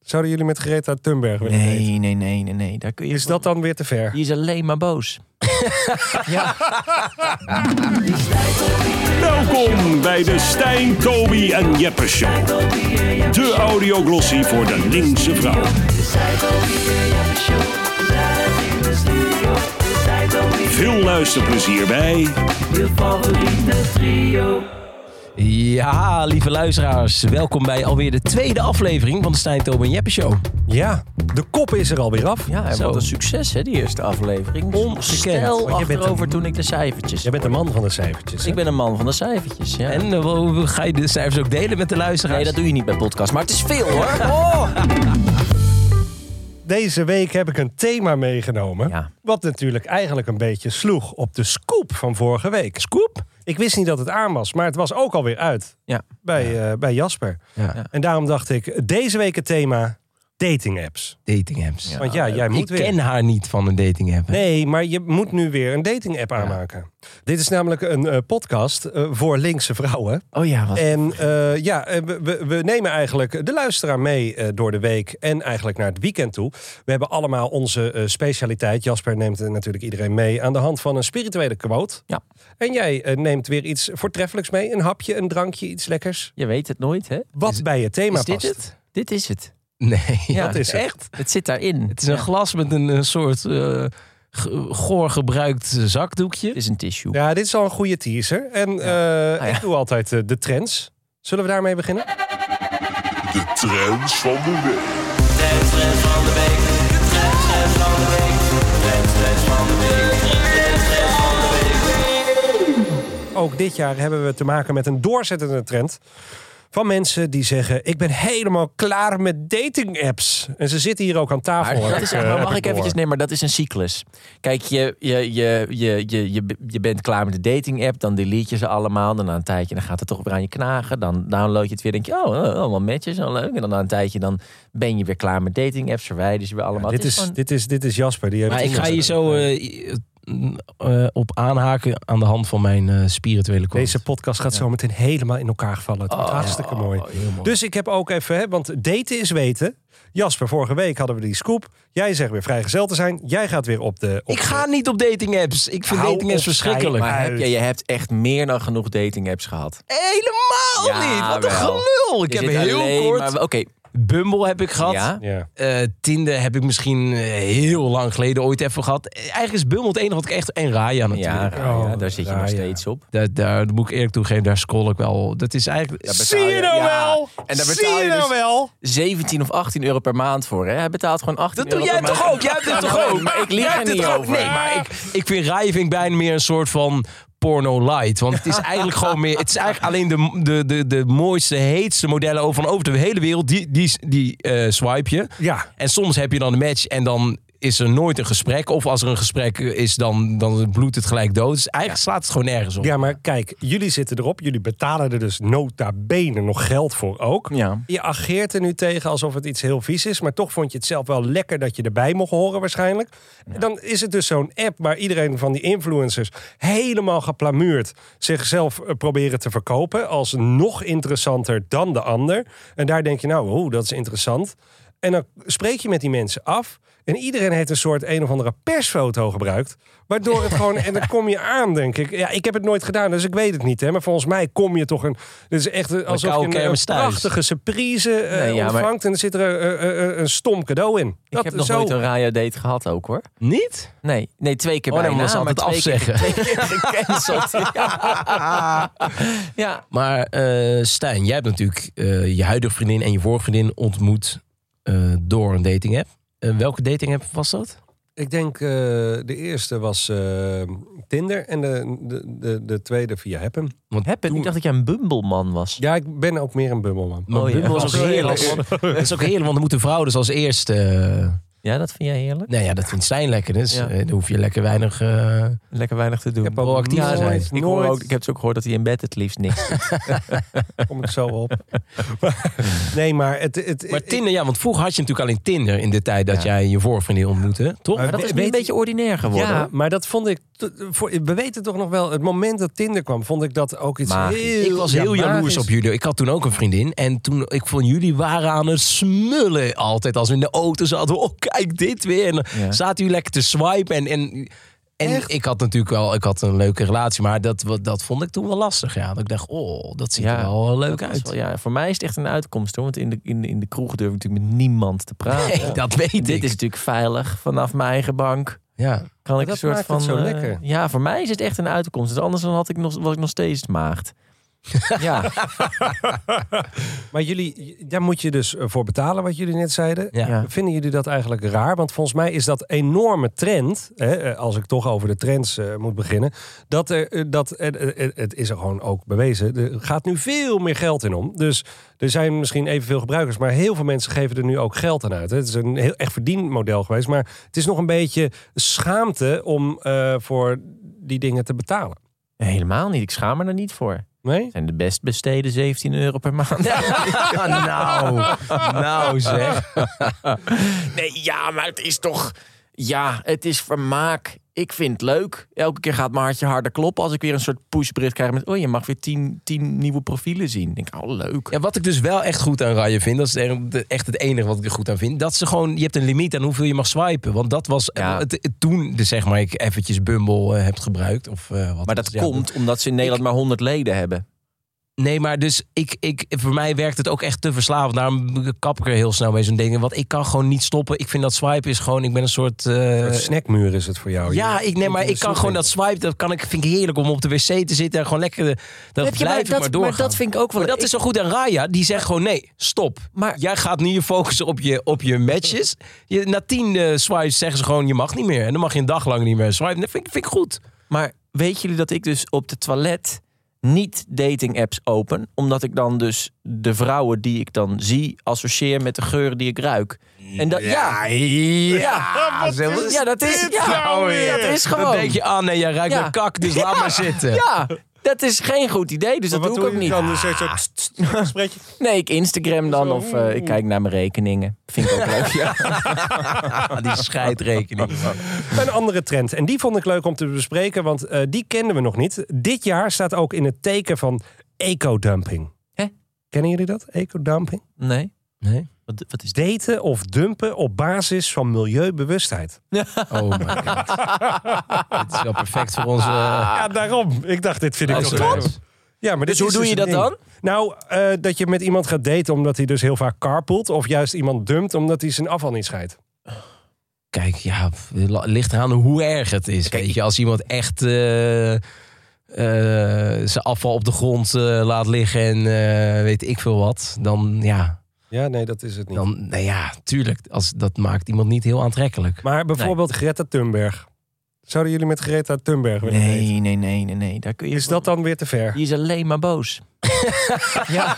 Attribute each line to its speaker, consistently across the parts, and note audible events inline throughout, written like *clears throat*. Speaker 1: Zouden jullie met Greta Thunberg willen eten?
Speaker 2: Nee, nee, nee, nee, nee. Daar kun je
Speaker 1: Is dat dan weer te ver?
Speaker 2: Die is alleen maar boos. ja.
Speaker 3: Welkom bij de Stijn, Toby en Jeppe Show. De audioglossie voor de linkse vrouw. Veel luisterplezier bij
Speaker 2: ja, lieve luisteraars. Welkom bij alweer de tweede aflevering van de Stijn, Tobe en Jeppe Show.
Speaker 1: Ja, de kop is er alweer af.
Speaker 4: Ja, en
Speaker 2: Zo.
Speaker 4: wat een succes, hè, die eerste aflevering.
Speaker 2: Onstel
Speaker 1: want je bent
Speaker 2: achterover
Speaker 1: een-
Speaker 2: toen ik de cijfertjes...
Speaker 1: Jij bent de man van de cijfertjes. hè?
Speaker 4: Ik ben een man van de cijfertjes, ja.
Speaker 2: En eh, wo- ga je de cijfers ook delen met de luisteraars? Oh!
Speaker 4: nee, dat doe je niet bij podcast, maar het is veel,
Speaker 2: *laughs*
Speaker 4: hoor.
Speaker 1: Deze week heb ik een thema meegenomen.
Speaker 2: Ja.
Speaker 1: Wat natuurlijk eigenlijk een beetje sloeg op de scoop van vorige week. Scoop? Ik wist niet dat het aan was, maar het was ook alweer uit
Speaker 2: Ja.
Speaker 1: bij, eh, bij Jasper.
Speaker 2: Ja.
Speaker 1: En daarom dacht ik, deze week het thema dating apps.
Speaker 2: Dating apps.
Speaker 1: Want ja, jij
Speaker 2: ik
Speaker 1: moet weer.
Speaker 2: ken haar niet van een dating app. hè?
Speaker 1: Nee, maar je moet nu weer een dating app aanmaken. Dit is namelijk een eh, podcast eh, voor linkse vrouwen.
Speaker 2: Oh ja, wat...
Speaker 1: En eh, ja, eh, we, we- we nemen eigenlijk de luisteraar mee eh, door de week en eigenlijk naar het weekend toe. We hebben allemaal onze eh, specialiteit. Jasper neemt eh, natuurlijk iedereen mee aan de hand van een spirituele quote.
Speaker 4: Ja.
Speaker 1: En jij eh, neemt weer iets voortreffelijks mee. Een hapje, een drankje, iets lekkers.
Speaker 4: Je weet het nooit, hè?
Speaker 1: Wat bij je thema
Speaker 2: is dit
Speaker 1: past.
Speaker 2: het?
Speaker 4: Dit is het.
Speaker 2: Nee.
Speaker 4: Ja,
Speaker 1: Dat is het.
Speaker 2: echt.
Speaker 4: Het zit daarin.
Speaker 2: Het is een glas met een, eh, soort eh, ge- goor gebruikt eh, zakdoekje.
Speaker 4: Het is een tissue.
Speaker 1: Ja, dit is al een goede teaser. En eh,
Speaker 4: Ah, ja.
Speaker 1: ik doe altijd eh, de trends. Zullen we daarmee beginnen?
Speaker 5: De trends van de week.
Speaker 1: Ook dit jaar hebben we te maken met een doorzettende trend. Van mensen die zeggen: Ik ben helemaal klaar met dating apps. En ze zitten hier ook aan tafel.
Speaker 4: Maar
Speaker 1: heb
Speaker 4: dat is,
Speaker 1: ik, eh,
Speaker 4: maar
Speaker 1: heb
Speaker 4: mag ik
Speaker 1: door.
Speaker 4: eventjes... Nee, maar dat is een cyclus. Kijk, je, je, je, je, je, je, je bent klaar met de dating app. Dan delete je ze allemaal. Dan na een tijdje dan gaat het toch weer aan je knagen. Dan download je het weer. denk je, oh, eh, allemaal matches. Al leuk. En dan na een tijdje dan ben je weer klaar met dating apps. Verwijder je ze weer allemaal.
Speaker 1: dit,
Speaker 4: Het
Speaker 1: is,
Speaker 4: gewoon-
Speaker 1: dit, is, dit is Jasper. Die heeft
Speaker 2: Maar ik ga hier
Speaker 1: deze
Speaker 2: zo eh, i- eh, eh, op aanhaken aan de hand van mijn eh, spirituele quote.
Speaker 1: Deze podcast gaat zo meteen helemaal in elkaar vallen. Het wordt hartstikke mooi. Dus ik heb ook even, hè, want daten is weten. Jasper, vorige week hadden we die scoop. Jij zegt weer vrijgezel te zijn. Jij gaat weer op de. Op
Speaker 2: Ik ga niet op dating apps. Ik vind
Speaker 1: Hou
Speaker 2: dating apps
Speaker 1: op,
Speaker 2: verschrikkelijk.
Speaker 1: schijn,
Speaker 4: Maar
Speaker 1: uit.
Speaker 4: heb, je, je hebt echt meer dan genoeg dating apps gehad.
Speaker 2: Helemaal
Speaker 4: Ja,
Speaker 2: niet. Wat een
Speaker 4: wel.
Speaker 2: gelul. Ik
Speaker 4: Je
Speaker 2: heb
Speaker 4: zit
Speaker 2: heel
Speaker 4: alleen
Speaker 2: kort...
Speaker 4: maar- Oké,
Speaker 2: Bumble heb ik gehad.
Speaker 4: ja.
Speaker 1: Ja.
Speaker 2: Eh, Tinder heb ik misschien eh, heel lang geleden ooit even gehad. Eh, Eigenlijk is Bumble het enige wat ik echt... En Raya natuurlijk.
Speaker 4: Ja, Raya,
Speaker 1: Oh,
Speaker 4: daar zit je
Speaker 1: Raya.
Speaker 4: nog steeds op.
Speaker 2: Daar, daar moet ik eerlijk toegeven, daar scroll ik wel. Dat is eigenlijk...
Speaker 4: Daar betaal
Speaker 1: Zie je nou
Speaker 4: ja,
Speaker 1: wel?
Speaker 4: En daar
Speaker 1: Zie
Speaker 4: betaal je,
Speaker 1: nou
Speaker 4: dus
Speaker 1: wel?
Speaker 4: 17 of 18 euro per maand voor. Hè? Hij betaalt gewoon 18
Speaker 2: Dat doe
Speaker 4: euro
Speaker 2: jij
Speaker 4: per maand.
Speaker 2: toch ook? Jij hebt het
Speaker 4: Ja,
Speaker 2: toch ook?
Speaker 4: Maar ik
Speaker 2: Jij
Speaker 4: lieg er
Speaker 2: hebt het
Speaker 4: niet
Speaker 2: toch ook?
Speaker 4: over.
Speaker 2: Nee, maar ik, ik vind Rai vind ik bijna meer een soort van porno light. Want het *laughs* is eigenlijk gewoon meer... Het is eigenlijk alleen de, de, de, de mooiste, heetste modellen over- van over de hele wereld. Die, die, die eh, swipe je.
Speaker 1: Ja.
Speaker 2: En soms heb je dan een match en dan is er nooit een gesprek. Of als er een gesprek is, dan, dan bloedt het gelijk dood. Dus eigenlijk slaat het gewoon nergens op.
Speaker 1: Ja, maar kijk, jullie zitten erop. Jullie betalen er dus nota bene nog geld voor ook.
Speaker 4: Ja.
Speaker 1: Je ageert er nu tegen alsof het iets heel vies is. Maar toch vond je het zelf wel lekker dat je erbij mocht horen waarschijnlijk. Dan is het dus zo'n app waar iedereen van die influencers... helemaal geplamuurd zichzelf eh, proberen te verkopen... als nog interessanter dan de ander. En daar denk je, nou, oeh, dat is interessant. En dan spreek je met die mensen af... En iedereen heeft een soort een of andere persfoto gebruikt. Waardoor het gewoon. En dan kom je aan, denk ik. Ja, ik heb het nooit gedaan, dus ik weet het niet. Hè, maar volgens mij kom je toch een. Dit is echt eh, alsof je
Speaker 2: koude
Speaker 1: een, een
Speaker 2: kermis thuis.
Speaker 1: prachtige surprise eh,
Speaker 4: Nee, ja, maar-
Speaker 1: ontvangt. En er zit er eh, eh, eh, een stom cadeau in.
Speaker 4: Ik heb nog
Speaker 1: zo-
Speaker 4: nooit een Raya date gehad ook hoor.
Speaker 2: Niet?
Speaker 4: Nee, nee twee keer
Speaker 2: Oh, nee,
Speaker 4: bijna.
Speaker 2: maar dat is
Speaker 4: maar
Speaker 2: altijd
Speaker 4: twee keer-
Speaker 2: afzeggen.
Speaker 4: twee keer *laughs* gecanceld. Ja. ja.
Speaker 2: Maar eh, Stijn, jij hebt natuurlijk eh, je huidige vriendin en je vorige vriendin ontmoet eh, door een dating app. Eh, welke dating app was dat?
Speaker 1: Ik denk eh, de eerste was eh, Tinder en de, de, de, de tweede via Happen.
Speaker 2: Want
Speaker 4: Happen, ik dacht dat jij een bumbleman was.
Speaker 1: Ja, ik ben ook meer een bumbelman.
Speaker 4: *laughs*
Speaker 2: maar
Speaker 4: Oh ja.
Speaker 2: Bumble is ook
Speaker 4: Oh,
Speaker 2: heerlijk.
Speaker 4: sorry.
Speaker 2: Dat is ook heerlijk, want dan moet de vrouw dus als eerste. eh,
Speaker 4: Ja, dat vind jij heerlijk?
Speaker 2: Nou ja, dat vindt Stijn lekker. Dus
Speaker 4: Ja.
Speaker 2: eh, daar hoef je lekker weinig... eh,
Speaker 4: Lekker weinig te doen.
Speaker 1: heb ook
Speaker 2: Proactief
Speaker 1: nooit,
Speaker 2: zijn.
Speaker 4: ik, hoor
Speaker 1: nooit-
Speaker 4: ook, ik heb ze ook gehoord dat hij in bed het liefst niks.
Speaker 1: kom ik zo
Speaker 4: *laughs*
Speaker 1: op. Maar- nee, maar het... het
Speaker 2: Maar Tinder, ja, want vroeger had je natuurlijk alleen Tinder in de tijd dat jij je voorvriendin ontmoette, toch?
Speaker 1: Maar
Speaker 4: Maar dat is nu
Speaker 1: Weet
Speaker 4: een
Speaker 1: je-
Speaker 4: beetje ordinair geworden.
Speaker 1: ja,
Speaker 4: hoor.
Speaker 1: maar dat vond ik. t- Voor, we weten toch nog wel, het moment dat Tinder kwam, vond ik dat ook iets
Speaker 4: Magisch.
Speaker 1: heel.
Speaker 2: ik was heel
Speaker 1: ja,
Speaker 2: jaloers
Speaker 1: magisch.
Speaker 2: op jullie. Ik had toen ook een vriendin. En toen, ik vond jullie waren aan het smullen altijd. Als we in de auto zaten. Oh, kijk dit weer. En dan
Speaker 4: Ja.
Speaker 2: zaten jullie lekker te swipen. En, en, en ik had natuurlijk wel ik had een leuke relatie. Maar dat, wa- dat vond ik toen wel lastig. Ja. Dat ik dacht, oh, dat ziet er
Speaker 4: Ja.
Speaker 2: wel leuk
Speaker 4: Dat is wel- eh,
Speaker 2: uit.
Speaker 4: ja, voor mij is het echt een uitkomst hoor. Want in de, in, de- in de kroeg durf ik natuurlijk met niemand te praten.
Speaker 2: Nee, *laughs* dat weet
Speaker 4: Dit
Speaker 2: ik.
Speaker 4: is natuurlijk veilig vanaf mijn eigen bank.
Speaker 2: Ja.
Speaker 4: Kan ik
Speaker 1: dat
Speaker 4: een soort
Speaker 1: maakt
Speaker 4: van.
Speaker 1: het zo
Speaker 4: eh,
Speaker 1: lekker.
Speaker 4: Ja, voor mij is het echt een uitkomst. Dus anders dan had ik nog, was ik nog steeds maagd. *laughs* ja,
Speaker 1: Maar jullie, daar moet je dus eh, voor betalen, wat jullie net zeiden.
Speaker 2: Ja.
Speaker 4: Ja.
Speaker 1: Vinden jullie dat eigenlijk raar? Want volgens mij is dat enorme trend, hè, eh, als ik toch over de trends eh, moet beginnen, dat er, eh, dat, eh, eh, eh, het is er gewoon ook bewezen, er gaat nu veel meer geld in om. Dus er zijn misschien evenveel gebruikers, maar heel veel mensen geven er nu ook geld aan uit. hè. Het is een heel echt verdienmodel geweest, maar het is nog een beetje schaamte om eh, voor die dingen te betalen.
Speaker 4: Nee, helemaal niet. Ik schaam me er niet voor.
Speaker 1: Nee?
Speaker 4: zijn de best besteden 17 euro per maand. *laughs*
Speaker 2: nou,
Speaker 4: Oh,
Speaker 2: nou zeg.
Speaker 4: Nee, ja, maar het is toch. Ja, het is vermaak. Ik vind het leuk. Elke keer gaat mijn hartje harder kloppen als ik weer een soort pushbericht krijg met. Oh, je mag weer 10 10 nieuwe profielen zien. Ik denk, oh, leuk.
Speaker 2: Ja, wat ik dus wel echt goed aan Ryan vind, dat is er- echt het enige wat ik er goed aan vind, dat ze gewoon, je hebt een limiet aan hoeveel je mag swipen. Want dat was
Speaker 4: Ja.
Speaker 2: het, het- toen, dus zeg maar, ik eventjes Bumble eh, heb gebruikt. Of, eh, wat
Speaker 4: Maar
Speaker 2: het
Speaker 4: dat
Speaker 2: was. Ja,
Speaker 4: komt omdat ze in Nederland maar 100 leden hebben.
Speaker 2: Nee, maar dus ik, ik, voor mij werkt het ook echt te verslavend. Daarom kap ik er heel snel mee zo'n ding. Want ik kan gewoon niet stoppen. Ik vind dat swipen is gewoon, ik ben een soort... eh,
Speaker 1: Een snackmuur is het voor jou.
Speaker 2: ja,
Speaker 1: hier.
Speaker 2: ik, nee, maar
Speaker 1: Een
Speaker 2: ik kan gewoon dat swipen, dat kan ik, vind ik heerlijk om op de wc te zitten en gewoon lekker, eh, dat blijf ik maar, doorgaan.
Speaker 4: dat vind ik ook wel.
Speaker 2: Maar dat is zo goed aan Raya. Die zegt gewoon nee, stop.
Speaker 4: Maar-
Speaker 2: Jij gaat nu je focussen op je, op je matches. Je, na tien eh, swipes zeggen ze gewoon je mag niet meer. En dan mag je een dag lang niet meer swipen. Dat vind, ik- vind ik goed.
Speaker 4: Maar weet jullie dat ik dus op de toilet niet dating apps open? Omdat ik dan dus de vrouwen die ik dan zie associeer met de geuren die ik ruik. En dat, ja, ja, ja, dat is, ja, dat is gewoon.
Speaker 2: Dan denk je, ah nee, jij ruikt
Speaker 4: Ja.
Speaker 2: naar kak, dus laat maar zitten.
Speaker 4: Ja, dat is geen goed idee, dus dat doe ik ook niet.
Speaker 1: Dan dus zo, tst, tst, tst, gesprekje.
Speaker 4: *laughs* Nee, ik Instagram dan of eh, ik kijk naar mijn rekeningen. Vind ik ook leuk.
Speaker 1: *laughs*
Speaker 4: Ja.
Speaker 2: Ah, die scheidrekening.
Speaker 1: Een andere trend. En die vond ik leuk om te bespreken, want eh, die kenden we nog niet. Dit jaar staat ook in het teken van ecodumping.
Speaker 4: Hè?
Speaker 1: Kennen jullie dat? Ecodumping?
Speaker 4: Nee.
Speaker 2: Nee?
Speaker 4: Wat, wat is dit?
Speaker 1: Daten of dumpen op basis van milieubewustheid.
Speaker 2: Oh my god. *laughs* Dit is wel perfect voor onze...
Speaker 1: Ja, daarom. Ik dacht, dit
Speaker 4: Oh,
Speaker 1: vind ik
Speaker 2: onze-
Speaker 1: wel leuk. Ja, maar dit
Speaker 4: Dus hoe
Speaker 1: is
Speaker 4: doe je
Speaker 1: een
Speaker 4: dat
Speaker 1: ding.
Speaker 4: dan?
Speaker 1: Nou, eh, dat je met iemand gaat daten omdat hij dus heel vaak carpoolt. Of juist iemand dumpt omdat hij zijn afval niet scheidt.
Speaker 2: Kijk, ja, ligt eraan hoe erg het is. Weet je, als iemand echt eh, eh, zijn afval op de grond eh, laat liggen en eh, weet ik veel wat, dan ja,
Speaker 1: Ja, nee, dat is het niet.
Speaker 2: dan, nou ja, tuurlijk, als, dat maakt iemand niet heel aantrekkelijk.
Speaker 1: Maar bijvoorbeeld Greta Thunberg. Zouden jullie met Greta Thunberg willen daten?
Speaker 4: Nee, nee, nee, nee, nee. Daar kun je
Speaker 1: Is dat dan weer te ver?
Speaker 4: Die is alleen maar *laughs* boos. ja.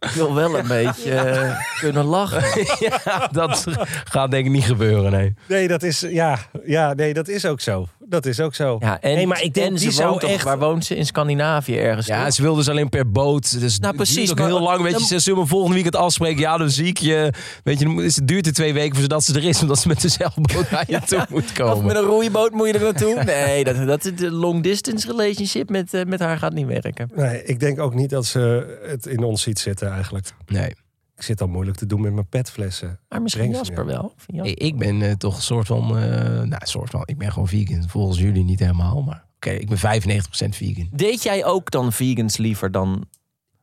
Speaker 4: Ik wil wel een beetje eh, kunnen lachen. *laughs*
Speaker 2: ja, dat gaat denk ik niet gebeuren, nee.
Speaker 1: Nee, dat is, ja, ja, nee, dat is ook zo. Dat is ook zo.
Speaker 4: Ja, en,
Speaker 1: nee, maar ik denk,
Speaker 4: en
Speaker 1: die
Speaker 4: ze
Speaker 1: zou
Speaker 4: woont toch,
Speaker 1: echt...
Speaker 4: waar woont ze? In Scandinavië ergens.
Speaker 2: Ja,
Speaker 4: toch?
Speaker 2: ze wil dus alleen per boot. Dus
Speaker 4: Nou,
Speaker 2: het duurt
Speaker 4: precies,
Speaker 2: Ook
Speaker 4: maar-
Speaker 2: heel lang, weet je.
Speaker 4: dan-
Speaker 2: Ze zullen me volgende weekend afspreken. Ja, dan zie ik je. Weet je, dan is het duurt er twee weken voordat ze er is. Omdat ze met dezelfde boot naar je toe moet
Speaker 4: Of met
Speaker 2: komen.
Speaker 4: een roeiboot moet je er *laughs* naartoe? Nee, dat, dat is de long distance relationship met, eh, met haar gaat niet werken.
Speaker 1: Nee, ik denk ook niet dat ze het in ons ziet zitten eigenlijk.
Speaker 2: Nee.
Speaker 1: Ik zit al moeilijk te doen met mijn petflessen.
Speaker 4: Maar misschien
Speaker 1: Brengt ze
Speaker 4: Jasper wel. Vind Jasper-
Speaker 2: Hey, ik ben eh, toch soort van, eh, nou, soort van, ik ben gewoon vegan. Volgens jullie niet helemaal, maar oké, ik ben 95% vegan.
Speaker 4: Deed jij ook dan vegans liever dan...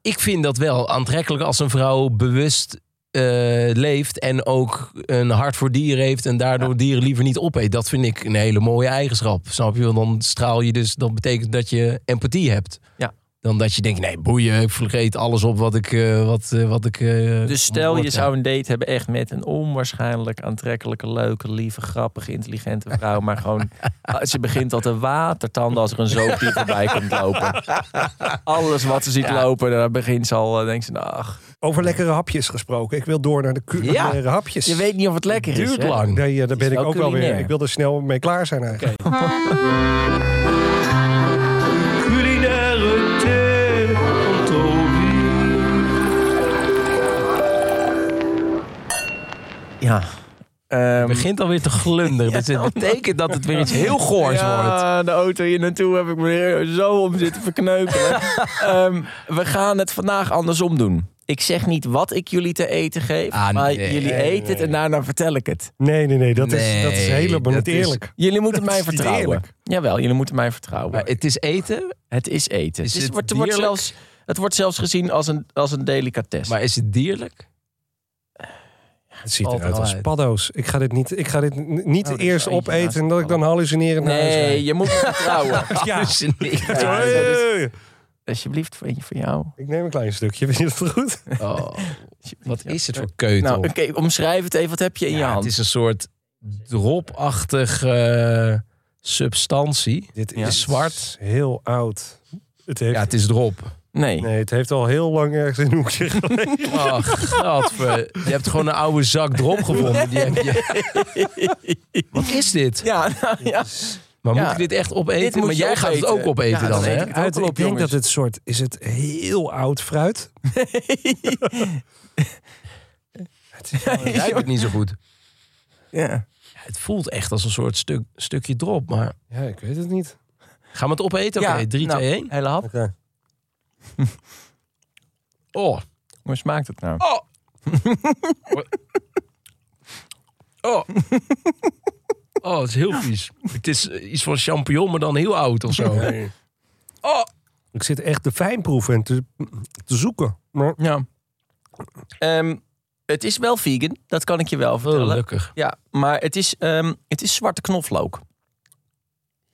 Speaker 2: Ik vind dat wel aantrekkelijk als een vrouw bewust eh, leeft en ook een hart voor dieren heeft en daardoor dieren liever niet opeet. Dat vind ik een hele mooie eigenschap. Snap je? Want dan straal je dus, dat betekent dat je empathie hebt.
Speaker 4: Ja.
Speaker 2: Dan dat je denkt, nee, boeien, ik vergeet alles op wat ik, eh, wat, eh, wat ik. eh,
Speaker 4: Dus stel, je
Speaker 2: gehoord heb.
Speaker 4: zou een date hebben echt met een onwaarschijnlijk aantrekkelijke, leuke, lieve, grappige, intelligente vrouw. Maar *laughs* gewoon, ze begint al te watertanden als er een zoogdier *laughs* voorbij komt lopen. Alles wat ze ziet lopen, daar begint ze al, eh, denkt ze, nou, ach.
Speaker 1: Over lekkere hapjes gesproken. Ik wil door naar de culinaire
Speaker 2: Ja,
Speaker 1: hapjes.
Speaker 4: Je weet niet of het lekker is.
Speaker 2: Duurt
Speaker 4: hè?
Speaker 2: lang.
Speaker 1: Nee, eh, daar ben
Speaker 4: is
Speaker 1: ik
Speaker 4: wel
Speaker 1: ook wel weer.
Speaker 4: culinair.
Speaker 1: Ik wil er snel mee klaar zijn eigenlijk.
Speaker 4: Ja. Ehm,
Speaker 2: Het begint alweer te *laughs* glunderen. Dus het betekent dat het weer iets heel goors wordt.
Speaker 4: Ja, de auto hier naartoe heb ik me er zo om zitten *laughs* verkneuken. Ehm, we gaan het vandaag andersom doen. Ik zeg niet wat ik jullie te eten geef,
Speaker 2: Ah,
Speaker 4: maar
Speaker 2: nee.
Speaker 4: jullie
Speaker 1: Nee,
Speaker 4: eten het en daarna vertel ik het.
Speaker 1: Nee, nee, nee. Dat, Is, dat is
Speaker 2: Nee,
Speaker 1: helemaal
Speaker 2: dat
Speaker 1: niet
Speaker 2: is-
Speaker 1: eerlijk.
Speaker 4: Jullie moeten
Speaker 1: Dat
Speaker 4: mij
Speaker 1: is niet
Speaker 4: vertrouwen.
Speaker 1: eerlijk.
Speaker 4: Jawel, jullie moeten mij vertrouwen.
Speaker 2: Maar het is eten,
Speaker 4: het is eten.
Speaker 2: is
Speaker 4: het, is-
Speaker 2: het
Speaker 4: wordt, het wordt
Speaker 2: dierlijk?
Speaker 4: zelfs, het wordt zelfs gezien als een, als een delicatesse.
Speaker 2: maar is het dierlijk? *laughs*
Speaker 1: Het ziet
Speaker 2: Altijd
Speaker 1: eruit als
Speaker 2: uit.
Speaker 1: paddo's. Ik ga dit niet, ik ga dit n- niet
Speaker 4: Oh, dat is
Speaker 1: eerst
Speaker 4: eentje naast
Speaker 1: opeten en dat ik dan hallucinerend naar huis
Speaker 4: nee,
Speaker 1: rijd.
Speaker 4: je moet me vertrouwen.
Speaker 1: Nou,
Speaker 4: Dus-
Speaker 1: Ja.
Speaker 2: Hallucineren.
Speaker 1: Zo,
Speaker 4: Ja, dat is-
Speaker 1: hey.
Speaker 4: Alsjeblieft, voor, voor jou.
Speaker 1: Ik neem een klein stukje. *laughs* Vind je dat goed?
Speaker 2: Oh, wat
Speaker 4: Ja.
Speaker 2: is het voor keutel?
Speaker 4: Nou, oké, omschrijf het even. Wat heb je in je
Speaker 2: Ja,
Speaker 4: hand?
Speaker 2: het is een soort dropachtige eh, substantie.
Speaker 1: Dit
Speaker 4: Ja.
Speaker 1: is zwart. Heel oud. Het heeft,
Speaker 2: Ja, het is drop.
Speaker 4: Nee.
Speaker 1: Nee, het heeft al heel lang ergens in een hoekje
Speaker 2: *laughs*
Speaker 1: gelegen.
Speaker 2: Oh, gadver. Je hebt gewoon een oude zak drop gevonden. Die heb je... *laughs* Wat is dit?
Speaker 4: Ja, *laughs* nou, ja.
Speaker 2: Maar
Speaker 4: Ja.
Speaker 2: moet ik dit echt
Speaker 4: Dit
Speaker 2: opeten?
Speaker 4: moet
Speaker 2: Maar
Speaker 4: je
Speaker 2: jij gaat het ook
Speaker 4: opeten.
Speaker 2: opeten
Speaker 4: Ja,
Speaker 2: dan,
Speaker 4: dat
Speaker 2: hè?
Speaker 4: weet ik.
Speaker 1: Uit,
Speaker 4: Alcohol,
Speaker 1: ik denk
Speaker 4: jongens.
Speaker 1: dat het soort... Is het heel oud
Speaker 4: *laughs*
Speaker 1: fruit? Het is wel-
Speaker 2: *laughs* Ik ruik het niet zo goed.
Speaker 4: ja.
Speaker 2: Het voelt echt als een soort stuk, stukje drop, maar...
Speaker 1: ja, ik weet het niet.
Speaker 2: Gaan we het opeten? Oké,
Speaker 4: Ja,
Speaker 2: 3,
Speaker 4: nou,
Speaker 2: 2, 1.
Speaker 4: Hele hap.
Speaker 1: Oké.
Speaker 2: Oh,
Speaker 4: Hoe smaakt het nou?
Speaker 2: *laughs* oh. oh. Oh, het is heel vies. Het is eh, iets van champignon, maar dan heel oud of zo. Oh.
Speaker 1: Ik zit echt de fijnproeven te, te zoeken. Maar
Speaker 4: Ja. Ehm, het is wel vegan, dat kan ik je wel vertellen.
Speaker 2: Gelukkig.
Speaker 4: ja, maar het is, ehm, het is zwarte knoflook.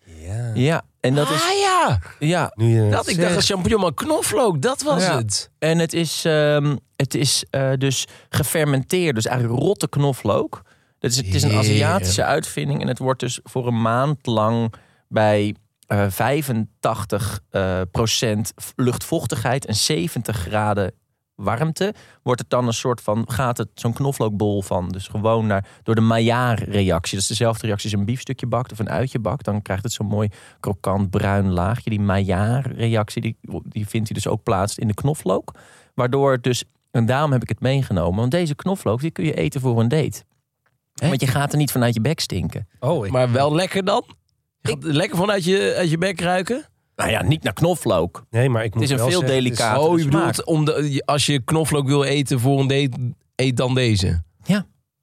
Speaker 1: ja.
Speaker 4: Ja, en dat is.
Speaker 2: Ah ja,
Speaker 4: Ja,
Speaker 1: Nu je het
Speaker 2: dat ik dacht
Speaker 1: zegt.
Speaker 2: dat champignon, maar knoflook, dat was
Speaker 4: Ja.
Speaker 2: het.
Speaker 4: en het is, ehm, het is eh, dus gefermenteerd, dus eigenlijk rotte knoflook. Dat is, het is een Aziatische uitvinding en het wordt dus voor een maand lang bij eh 85 eh, procent luchtvochtigheid en 70 graden warmte wordt het dan een soort van gaat het zo'n knoflookbol van dus gewoon naar door de Maillard-reactie. Dat is dezelfde reactie als je een biefstukje bakt of een uitje bakt, dan krijgt het zo'n mooi krokant bruin laagje. Die Maillard-reactie die, die vindt hij dus ook plaats in de knoflook, waardoor het dus en daarom heb ik het meegenomen, want deze knoflook die kun je eten voor een date. Want je gaat er niet vanuit je bek stinken.
Speaker 1: Oh, ik...
Speaker 2: Maar wel lekker dan? Je gaat Lekker vanuit je, uit je bek ruiken?
Speaker 4: Nou ja, niet naar knoflook.
Speaker 1: Nee, maar ik moet
Speaker 4: is een
Speaker 1: wel
Speaker 4: veel
Speaker 1: zeggen, het is-
Speaker 4: delicaat-
Speaker 2: oh,
Speaker 4: de
Speaker 2: je
Speaker 4: smaak.
Speaker 2: bedoelt om de- je- als je knoflook wil eten voor een date, eet dan deze.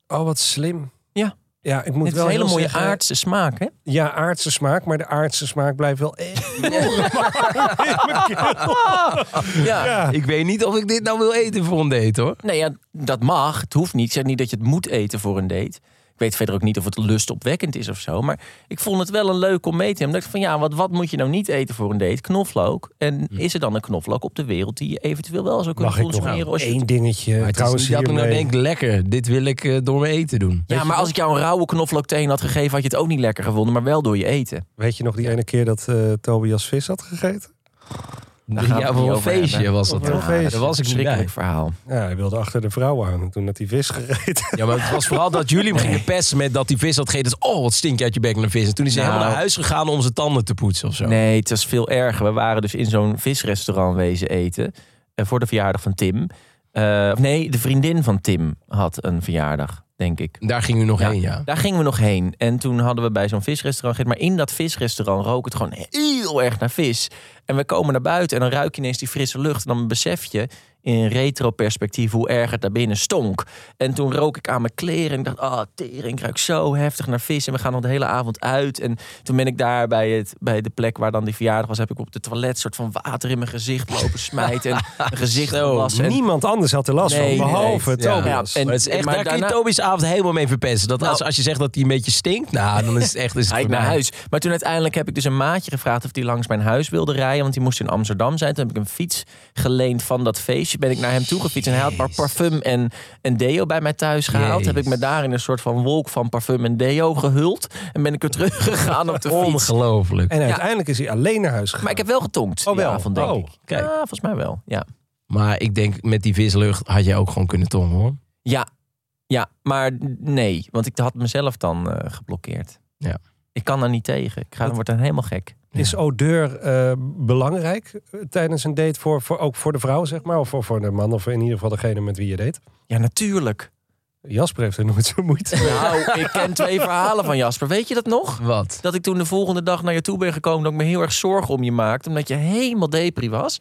Speaker 1: Oh, wat slim.
Speaker 4: Ja.
Speaker 1: Ja, ik moet
Speaker 4: Het is
Speaker 1: wel
Speaker 4: een hele
Speaker 1: heel
Speaker 4: mooie
Speaker 1: zeggen,
Speaker 4: aardse smaak, hè?
Speaker 1: Ja, aardse smaak, maar de aardse smaak blijft wel echt. *laughs*
Speaker 4: Ja.
Speaker 2: Ah. Ik weet niet of ik dit nou wil eten voor een date hoor.
Speaker 4: Nee, ja, dat mag. Het hoeft niet. Ik zeg niet dat je het moet eten voor een date. Ik weet verder ook niet of het lustopwekkend is of zo. Maar ik vond het wel een leuk om mee te nemen. Ik dacht van ja, wat, wat moet je nou niet eten voor een date? Knoflook. En is er dan een knoflook op de wereld die je eventueel wel zou kunnen
Speaker 1: Mag ik
Speaker 4: consumeren?
Speaker 1: nog
Speaker 4: Als je...
Speaker 1: één dingetje
Speaker 2: Maar het is
Speaker 1: trouwens
Speaker 2: niet dat ik nou
Speaker 1: hiermee-
Speaker 2: denk, lekker, dit wil ik eh, door mijn eten doen.
Speaker 4: Ja, maar als ik jou een rauwe knoflook tegen had gegeven, had je het ook niet lekker gevonden, maar wel door je eten.
Speaker 1: Weet je nog die ene keer dat eh, Tobias vis had gegeten?
Speaker 4: Daar gaan we
Speaker 2: ja,
Speaker 4: het
Speaker 2: voor
Speaker 4: niet
Speaker 2: een
Speaker 4: over
Speaker 2: feestje
Speaker 4: hebben.
Speaker 2: was dat
Speaker 1: Voor een
Speaker 2: toch?
Speaker 1: feestje.
Speaker 2: Ja, Daar was ik niet bij.
Speaker 4: Schrikkelijk verhaal.
Speaker 1: Ja, hij wilde achter de vrouw aan en toen had hij vis gegeten.
Speaker 2: Ja, maar het was vooral dat jullie hem gingen pesten met dat die vis had gegeten. Dus, Oh, wat stink je uit je bek naar de vis. En toen is hij
Speaker 4: Nou.
Speaker 2: helemaal naar huis gegaan om zijn tanden te poetsen of zo.
Speaker 4: Nee, het was veel erger. We waren dus in zo'n visrestaurant wezen eten. eh, voor de verjaardag van Tim. Eh, of nee, de vriendin van Tim had een verjaardag, denk ik.
Speaker 2: Daar ging u nog
Speaker 4: Ja,
Speaker 2: heen, ja.
Speaker 4: Daar gingen we nog heen. En toen hadden we bij zo'n visrestaurant gegeten. Maar in dat visrestaurant rook het gewoon heel erg naar vis. En we komen naar buiten en dan ruik je ineens die frisse lucht. En dan besef je in retro-perspectief hoe erg het daarbinnen stonk. En toen rook ik aan mijn kleren en ik dacht, ah, tering, ik ruik zo heftig naar vis. En we gaan dan de hele avond uit. En toen ben ik daar bij, het, bij de plek waar dan die verjaardag was... heb ik op de toilet soort van water in mijn gezicht lopen smijten. En mijn gezicht gewassen. En
Speaker 1: Niemand anders had er last
Speaker 4: Nee,
Speaker 1: van,
Speaker 4: nee,
Speaker 1: behalve
Speaker 4: nee.
Speaker 1: Tobias.
Speaker 4: Ja, en-
Speaker 2: maar het is echt,
Speaker 4: maar
Speaker 2: daar kun je
Speaker 4: daarna-
Speaker 2: Tobi's avond helemaal mee verpesten. Dat als,
Speaker 4: Nou.
Speaker 2: als je zegt dat hij een beetje stinkt, nou, dan is het echt... Is het
Speaker 4: Hij ik naar
Speaker 2: voorbij.
Speaker 4: huis. Maar toen uiteindelijk heb ik dus een maatje gevraagd of hij langs mijn huis wilde rijden. Want die moest in Amsterdam zijn. Toen heb ik een fiets geleend van dat feestje. Ben ik naar hem toe gefietst. En hij had maar parfum en, en deo bij mij thuis gehaald.
Speaker 2: Jezus.
Speaker 4: Heb ik me daar in een soort van wolk van parfum en deo gehuld. En ben ik weer teruggegaan
Speaker 2: *laughs*
Speaker 4: op de fiets.
Speaker 2: Ongelooflijk.
Speaker 1: En uiteindelijk is hij alleen naar huis gegaan.
Speaker 4: Maar ik heb wel getonkt
Speaker 1: Oh,
Speaker 4: die
Speaker 1: wel.
Speaker 4: avond, denk
Speaker 1: Oh,
Speaker 4: ik.
Speaker 2: kijk.
Speaker 4: Ja, volgens mij wel. Ja.
Speaker 2: Maar ik denk, met die vislucht had je ook gewoon kunnen tongen, hoor.
Speaker 4: Ja, ja, maar nee, want ik had mezelf dan eh, geblokkeerd.
Speaker 2: Ja.
Speaker 4: Ik kan daar niet tegen. Ik ga, dan word dan helemaal gek.
Speaker 1: Is odeur eh, belangrijk eh, tijdens een date voor, voor, ook voor de vrouw, zeg maar? Of voor, voor de man, of in ieder geval degene met wie je date?
Speaker 4: Ja, natuurlijk.
Speaker 1: Jasper heeft er nooit zo moeite mee.
Speaker 4: Nou, ik ken twee verhalen van Jasper. Weet je dat nog?
Speaker 2: Wat?
Speaker 4: Dat ik toen de volgende dag naar je toe ben gekomen... dat ik me heel erg zorgen om je maakte... omdat je helemaal depri was.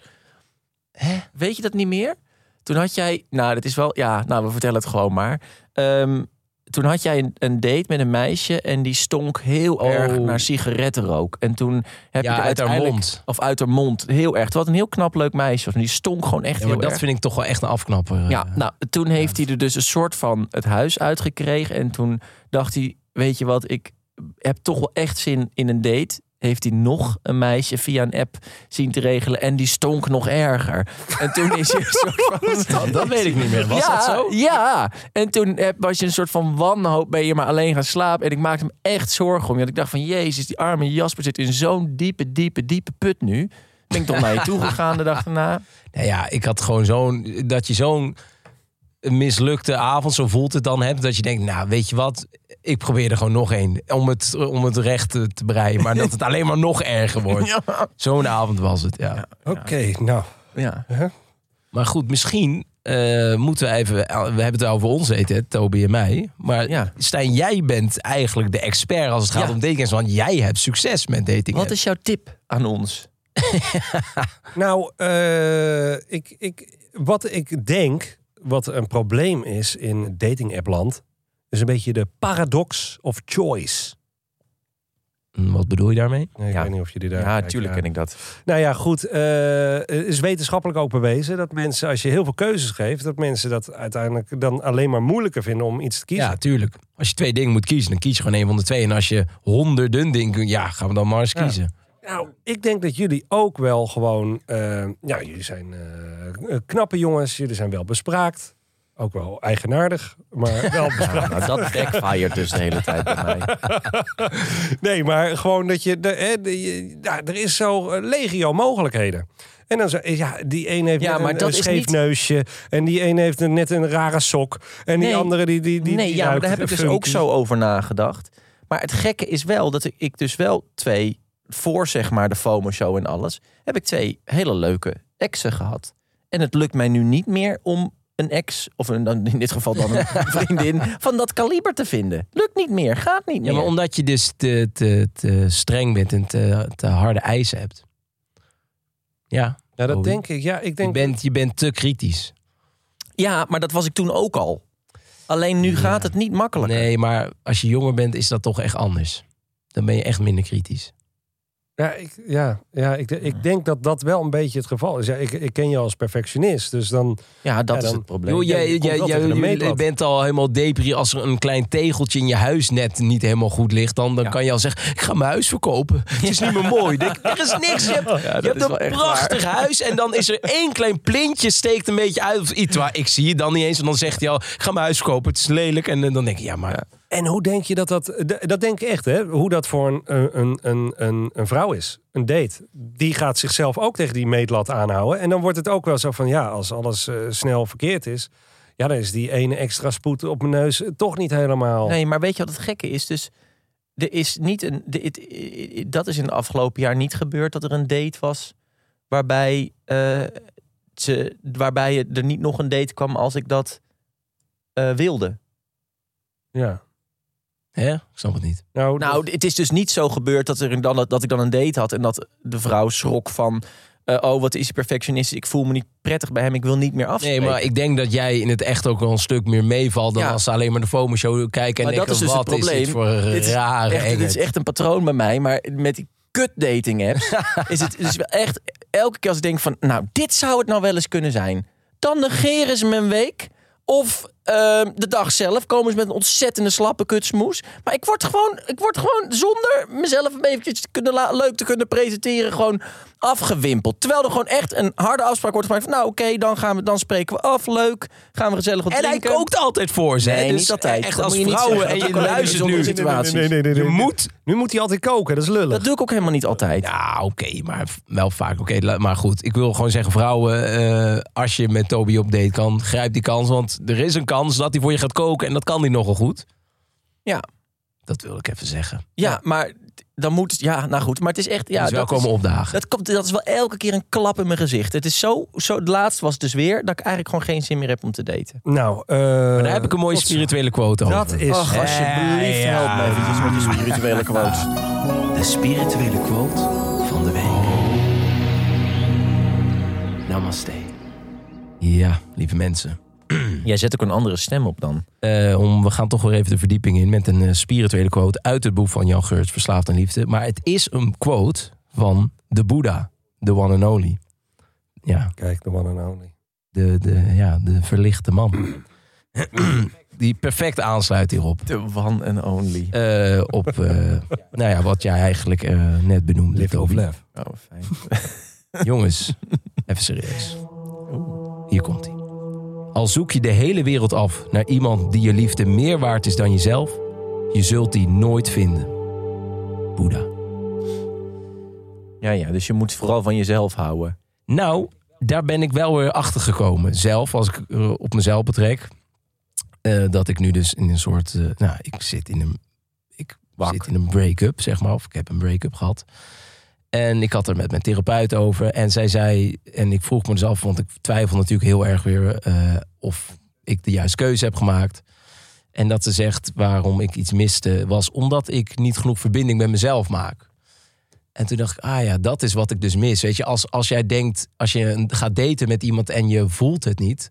Speaker 4: Weet je dat niet meer? Toen had jij... Nou, dat is wel... Ja, nou, we vertellen het gewoon maar. Ehm, toen had jij een, een date met een meisje... en die stonk heel
Speaker 2: Oh.
Speaker 4: erg naar sigarettenrook. En toen heb je
Speaker 2: Ja,
Speaker 4: er
Speaker 2: uit haar
Speaker 4: uiteindelijk-
Speaker 2: mond.
Speaker 4: Of uit haar mond. Heel erg. Wat een heel knap leuk meisje was. En die stonk gewoon echt
Speaker 2: Ja,
Speaker 4: heel
Speaker 2: maar dat
Speaker 4: erg.
Speaker 2: vind ik toch wel echt een afknapper. eh.
Speaker 4: Ja, nou, toen heeft hij er dus een soort van het huis uitgekregen. En toen dacht hij, weet je wat, ik heb toch wel echt zin in een date. Heeft hij nog een meisje via een app zien te regelen. En die stonk nog erger. En toen is hij
Speaker 2: *laughs*
Speaker 4: een soort van...
Speaker 2: dat, weet ik niet meer. Was
Speaker 4: ja,
Speaker 2: dat zo?
Speaker 4: Ja. En toen heb- was je een soort van wanhoop. Ben je maar alleen gaan slapen. En ik maakte me echt zorgen om je. Want ik dacht van, jezus, die arme Jasper zit in zo'n diepe, diepe, diepe put nu. Ben ik toch
Speaker 2: *laughs*
Speaker 4: naar je toe gegaan de dag daarna.
Speaker 2: Nou ja, ik had gewoon zo'n... Dat je zo'n mislukte avond, zo voelt het dan, hebt. Dat je denkt, nou, weet je wat? Ik probeer er gewoon nog één. Om het, om het recht te te breien. Maar *laughs* dat het alleen maar nog erger wordt. Zo'n avond was het, ja.
Speaker 1: Oké, nou.
Speaker 4: Ja.
Speaker 2: Maar goed, misschien eh, moeten we even... We hebben het over ons eten, hè, Toby en mij. Maar
Speaker 4: Ja.
Speaker 2: Stijn, jij bent eigenlijk de expert als het gaat
Speaker 4: Ja.
Speaker 2: om dating apps, Want jij hebt succes met dating
Speaker 4: Wat
Speaker 2: apps.
Speaker 4: is jouw tip aan ons?
Speaker 1: Nou, eh, ik, ik, wat ik denk, wat een probleem is in dating appland, is een beetje de paradox of choice.
Speaker 2: Hm, Wat bedoel je daarmee?
Speaker 1: Nee, ik
Speaker 4: Ja.
Speaker 1: weet niet of jullie daar.
Speaker 4: Ja,
Speaker 1: kijken.
Speaker 4: tuurlijk ken ik dat.
Speaker 1: Nou ja, goed. eh, Het is wetenschappelijk ook bewezen dat mensen, als je heel veel keuzes geeft, dat mensen dat uiteindelijk dan alleen maar moeilijker vinden om iets te kiezen.
Speaker 2: Ja, tuurlijk. Als je twee dingen moet kiezen, dan kies je gewoon een van de twee. En als je honderden dingen kunt, ja, gaan we dan maar eens kiezen.
Speaker 1: Nou, ik denk dat jullie ook wel gewoon. eh, ja, jullie zijn eh, knappe jongens, jullie zijn wel bespraakt. Ook wel eigenaardig,
Speaker 4: *laughs*
Speaker 1: maar wel bespraakt.
Speaker 4: Nou, dat backfired dus de hele tijd bij mij.
Speaker 1: Nee, maar gewoon dat je. De, hè, de- je- ja, er is zo eh, legio mogelijkheden. En dan zo, eh, ja, die een heeft
Speaker 4: Ja,
Speaker 1: net
Speaker 4: maar
Speaker 1: een,
Speaker 4: dat
Speaker 1: een
Speaker 4: is
Speaker 1: scheef
Speaker 4: niet-
Speaker 1: neusje. En die een heeft een- net een rare sok. En die
Speaker 4: Nee.
Speaker 1: andere *laughs* die. die, die
Speaker 4: Nee,
Speaker 1: die
Speaker 4: ja, maar
Speaker 1: ruikt
Speaker 4: daar heb ik dus
Speaker 1: funky.
Speaker 4: ook zo over nagedacht. Maar het gekke is wel dat ik dus wel twee, voor zeg maar de FOMO show en alles, heb ik twee hele leuke exen gehad. En het lukt mij nu niet meer om een ex, of een, dan in dit geval
Speaker 1: *laughs*
Speaker 4: dan een vriendin, van dat kaliber te vinden. Lukt niet meer, gaat niet meer.
Speaker 2: Ja, maar omdat je dus te, te, te streng bent en te, te harde eisen hebt. Ja,
Speaker 1: Ja, dat
Speaker 2: Oei.
Speaker 1: denk ik. Ja, ik
Speaker 2: je
Speaker 1: denk.
Speaker 2: bent, je bent te kritisch.
Speaker 4: Ja, maar dat was ik toen ook al. Alleen nu gaat het niet makkelijker.
Speaker 2: Nee, maar als je jonger bent, is dat toch echt anders. Dan ben je echt minder kritisch.
Speaker 1: Ja, ik, ja, ja ik, ik denk dat dat wel een beetje het geval is. Ja, ik, ik ken je als perfectionist, dus dan.
Speaker 4: Ja, dat
Speaker 1: Ja,
Speaker 4: is
Speaker 1: dan-
Speaker 4: het probleem.
Speaker 2: Joh,
Speaker 1: Ja,
Speaker 2: jij,
Speaker 1: je komt
Speaker 2: jij,
Speaker 1: wel
Speaker 2: jij-
Speaker 1: tegen een
Speaker 2: jij
Speaker 1: meetlat.
Speaker 2: bent al helemaal depri als er een klein tegeltje in je huis net niet helemaal goed ligt. Dan, dan
Speaker 4: Ja.
Speaker 2: kan je al zeggen, ik ga mijn huis
Speaker 4: *laughs*
Speaker 2: verkopen. Het is niet meer mooi. Denk, er is niks. Je hebt,
Speaker 4: dat
Speaker 2: je hebt
Speaker 4: is wel
Speaker 2: een
Speaker 4: echt
Speaker 2: prachtig huis en dan is er één klein plintje steekt een beetje uit. Of iets waar ik zie je dan niet eens. En dan zegt hij al, ik ga mijn huis verkopen. Het is lelijk. En eh, dan denk je, ja maar...
Speaker 1: En hoe denk je dat dat. d- Dat denk ik echt, hè? Hoe dat voor een, een, een, een, een vrouw is. Een date. Die gaat zichzelf ook tegen die meetlat aanhouden. En dan wordt het ook wel zo van ja, als alles eh, snel verkeerd is. Ja, dan is die ene extra spoed op mijn neus eh, toch niet helemaal.
Speaker 4: Nee, maar weet je wat het gekke is? Dus er is niet een. de- het- i- i- dat is in het afgelopen jaar niet gebeurd dat er een date was waarbij, eh, ze, waarbij er niet nog een date kwam als ik dat eh, wilde.
Speaker 1: Ja.
Speaker 2: Hè? Ik snap het niet.
Speaker 1: Nou, dat-
Speaker 4: Nou, het is dus niet zo gebeurd dat, er dan, dat ik dan een date had en dat de vrouw schrok van. eh, oh, wat is hij perfectionistisch? Ik voel me niet prettig bij hem. Ik wil niet meer
Speaker 2: Nee,
Speaker 4: afspreken.
Speaker 2: maar ik denk dat jij in het echt ook wel een stuk meer meevalt... dan
Speaker 4: Ja.
Speaker 2: als ze alleen maar de FOMO-show kijken en
Speaker 4: Maar dat
Speaker 2: denken...
Speaker 4: is dus
Speaker 2: wat
Speaker 4: het
Speaker 2: is dit
Speaker 4: probleem.
Speaker 2: voor een
Speaker 4: Dit is
Speaker 2: rare
Speaker 4: echt, dit is
Speaker 2: engert.
Speaker 4: echt een patroon bij mij, maar met die kut dating
Speaker 2: *laughs*
Speaker 4: apps is het is wel echt elke keer als ik denk van, nou, dit zou het nou wel eens kunnen zijn. Dan negeren ze me een week of Ehm, de dag zelf komen ze met een ontzettende slappe kutsmoes. Maar ik word gewoon, ik word gewoon zonder mezelf een beetje te kunnen la- leuk te kunnen presenteren, gewoon afgewimpeld. Terwijl er gewoon echt een harde afspraak wordt gemaakt van, nou oké, dan gaan we, dan spreken we af, leuk, gaan we gezellig wat
Speaker 2: En hij
Speaker 4: drinken.
Speaker 2: kookt altijd voor ze. hè?
Speaker 4: Nee, e-,
Speaker 2: Dus
Speaker 4: niet altijd.
Speaker 2: Echt
Speaker 4: Dat
Speaker 2: als
Speaker 4: moet je niet
Speaker 2: vrouwen
Speaker 4: zeggen.
Speaker 2: en
Speaker 4: Dat
Speaker 2: je
Speaker 4: kan alleen in
Speaker 2: luistert nu.
Speaker 4: bijzondere situaties.
Speaker 2: Je moet-
Speaker 1: Nu moet hij altijd koken, dat is lullig.
Speaker 4: Dat doe ik ook helemaal niet altijd.
Speaker 2: Ja, oké, maar v- wel vaak. Oké, la- maar goed. Ik wil gewoon zeggen, vrouwen, eh, als je met Toby op date kan, grijp die kans. Want er is een kans dat hij voor je gaat koken en dat kan hij nogal goed.
Speaker 4: Ja.
Speaker 2: Dat wil ik even zeggen.
Speaker 4: Ja, maar dan moet het. Ja, nou goed, maar het is echt. Ja,
Speaker 2: dus wel
Speaker 4: dat
Speaker 2: komen
Speaker 4: is-
Speaker 2: opdagen.
Speaker 4: Dat, komt, dat is wel elke keer een klap in mijn gezicht. Het is zo, zo. Het laatst was het dus weer dat ik eigenlijk gewoon geen zin meer heb om te daten.
Speaker 1: Nou, eh,
Speaker 2: Daar heb ik een mooie
Speaker 1: dat-
Speaker 2: spirituele quote over.
Speaker 1: Dat is...
Speaker 4: Ach, alsjeblieft,
Speaker 2: ja.
Speaker 4: help me eventjes met die spirituele quotes.
Speaker 2: De spirituele quote van de week. Namaste. Ja, lieve mensen.
Speaker 4: Hm. Jij zet ook een andere stem op dan.
Speaker 2: Eh, om, we gaan toch weer even de verdieping in met een eh, spirituele quote uit het boek van Jan Geurts, Verslaafd aan Liefde. Maar het is een quote van de Boeddha, de one and only. Ja,
Speaker 1: Kijk, de one and only.
Speaker 2: de, de, ja, de verlichte man. *clears throat* Die perfect aansluit hierop.
Speaker 4: The one and only.
Speaker 2: Eh, op eh, *laughs* nou ja, wat jij eigenlijk eh, net benoemde.
Speaker 1: Live of
Speaker 2: Toby.
Speaker 1: love.
Speaker 4: Oh, fijn.
Speaker 2: Jongens, even serieus. Hier komt hij. Al zoek je de hele wereld af naar iemand die je liefde meer waard is dan jezelf, je zult die nooit vinden. Boeddha.
Speaker 4: Ja, ja, dus je moet vooral van jezelf houden.
Speaker 2: Nou, daar ben ik wel weer achter gekomen. Zelf, als ik eh, op mezelf betrek, eh, dat ik nu dus in een soort. eh, nou, ik zit in een. Ik zit in een break-up, zeg maar. Of ik heb een break-up gehad. En ik had er met mijn therapeut over. En zij zei. En ik vroeg me dus af, want ik twijfel natuurlijk heel erg weer. eh, of ik de juiste keuze heb gemaakt. En dat ze zegt waarom ik iets miste, was omdat ik niet genoeg verbinding met mezelf maak. En toen dacht ik, ah ja, dat is wat ik dus mis. Weet je, als, als jij denkt, als je een- gaat daten met iemand en je voelt het niet,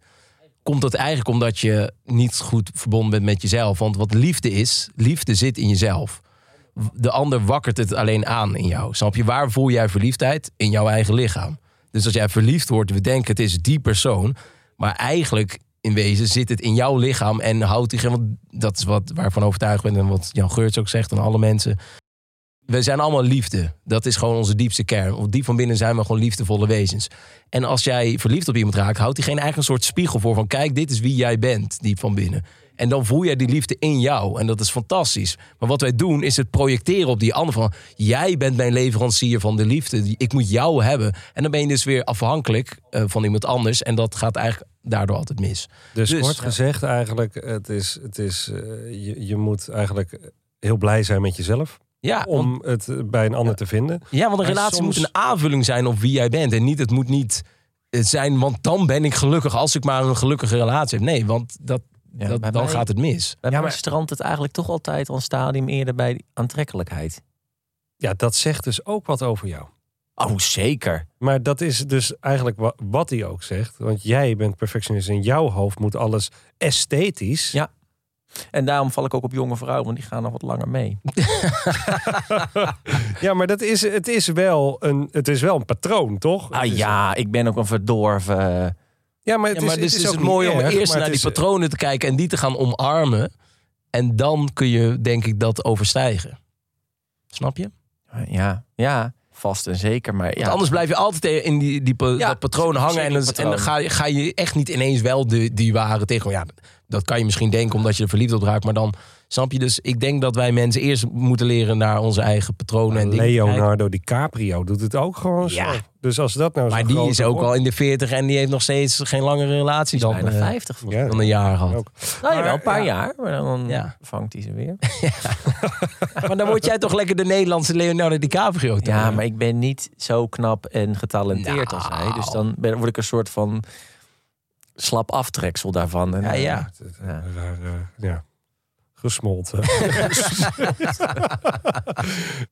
Speaker 2: komt dat eigenlijk omdat je niet goed verbonden bent met jezelf. Want wat liefde is, liefde zit in jezelf. De ander wakkert het alleen aan in jou. Snap je, waar voel jij verliefdheid? In jouw eigen lichaam. Dus als jij verliefd wordt, we denken het is die persoon. Maar eigenlijk, in wezen, zit het in jouw lichaam en houdt die... Want dat is wat waarvan overtuigd ben en wat Jan Geurts ook zegt en alle mensen we zijn allemaal liefde. Dat is gewoon onze diepste kern. Of diep van binnen zijn we gewoon liefdevolle wezens. En als jij verliefd op iemand raakt, houdt diegene eigenlijk een soort spiegel voor van kijk, dit is wie jij bent, diep van binnen. En dan voel jij die liefde in jou. En dat is fantastisch. Maar wat wij doen is het projecteren op die ander van jij bent mijn leverancier van de liefde. Ik moet jou hebben. En dan ben je dus weer afhankelijk eh, van iemand anders. En dat gaat eigenlijk daardoor altijd mis.
Speaker 1: Dus,
Speaker 2: Dus-
Speaker 1: kort gezegd eigenlijk, het is, het is, eh, je, je moet eigenlijk heel blij zijn met jezelf.
Speaker 2: Ja, want-
Speaker 1: om het eh, bij een ander te vinden.
Speaker 2: Ja, want een
Speaker 1: Maar
Speaker 2: relatie
Speaker 1: soms-
Speaker 2: moet een aanvulling zijn op wie jij bent. En niet, het moet niet eh, zijn, want dan ben ik gelukkig als ik maar een gelukkige relatie heb. Nee, want dat,
Speaker 4: Ja,
Speaker 2: dat,
Speaker 4: bij
Speaker 2: dan
Speaker 4: mij-
Speaker 2: gaat het mis.
Speaker 4: Bij mij strandt het eigenlijk toch altijd al een stadium eerder bij die aantrekkelijkheid.
Speaker 1: Ja, dat zegt dus ook wat over jou.
Speaker 4: Oh, zeker.
Speaker 1: Maar dat is dus eigenlijk wa- wat hij ook zegt. Want jij bent perfectionist. In jouw hoofd moet alles esthetisch.
Speaker 4: Ja. En daarom val ik ook op jonge vrouwen, want die gaan nog wat langer mee.
Speaker 1: Ja, maar dat is, het, is wel een, het is wel een patroon, toch?
Speaker 4: Ah
Speaker 1: Het is-
Speaker 4: ja, ik ben ook een verdorven.
Speaker 1: Ja, maar het
Speaker 2: Ja,
Speaker 1: is,
Speaker 2: maar dus
Speaker 1: het is,
Speaker 2: is
Speaker 1: ook
Speaker 2: het
Speaker 1: niet
Speaker 2: mooi om
Speaker 1: erg,
Speaker 2: eerst
Speaker 1: maar
Speaker 2: naar
Speaker 1: het
Speaker 2: die
Speaker 1: is-
Speaker 2: patronen te kijken en die te gaan omarmen. En dan kun je, denk ik, dat overstijgen. Snap je?
Speaker 4: eh, Ja, ja, vast en zeker. Maar ja,
Speaker 2: Want anders blijf je altijd in die, die pa-
Speaker 4: Ja,
Speaker 2: dat patroon hangen. En, dan- en dan ga, je- ga je echt niet ineens wel de, die ware tegen. Ja, dat kan je misschien denken omdat je er verliefd op raakt. Maar dan snap je dus. Ik denk dat wij mensen eerst moeten leren naar onze eigen patronen. En dingen te kijken.
Speaker 1: Leonardo DiCaprio doet het ook gewoon
Speaker 2: Ja.
Speaker 1: zo. Dus als dat nou
Speaker 2: Maar
Speaker 1: zo'n
Speaker 2: die
Speaker 1: grote
Speaker 2: is ook
Speaker 1: voor-
Speaker 2: al in de 40 en die heeft nog steeds geen langere relatie dan,
Speaker 4: bijna
Speaker 2: eh,
Speaker 4: 50 volgens
Speaker 1: Ja,
Speaker 2: dan een jaar gehad.
Speaker 1: ook.
Speaker 4: Nou,
Speaker 1: Maar,
Speaker 4: wel een paar
Speaker 1: ja.
Speaker 4: jaar, maar dan
Speaker 2: Ja.
Speaker 4: vangt hij ze weer.
Speaker 2: Maar dan word jij toch lekker de Nederlandse Leonardo DiCaprio. toch?
Speaker 4: Ja, maar ik ben niet zo knap en getalenteerd als hij. Dus dan ben, word ik een soort van slap aftreksel daarvan. En, eh,
Speaker 2: Ja, ja.
Speaker 4: Ja.
Speaker 1: Raar, eh, ja.
Speaker 4: *laughs*
Speaker 1: Gesmolten.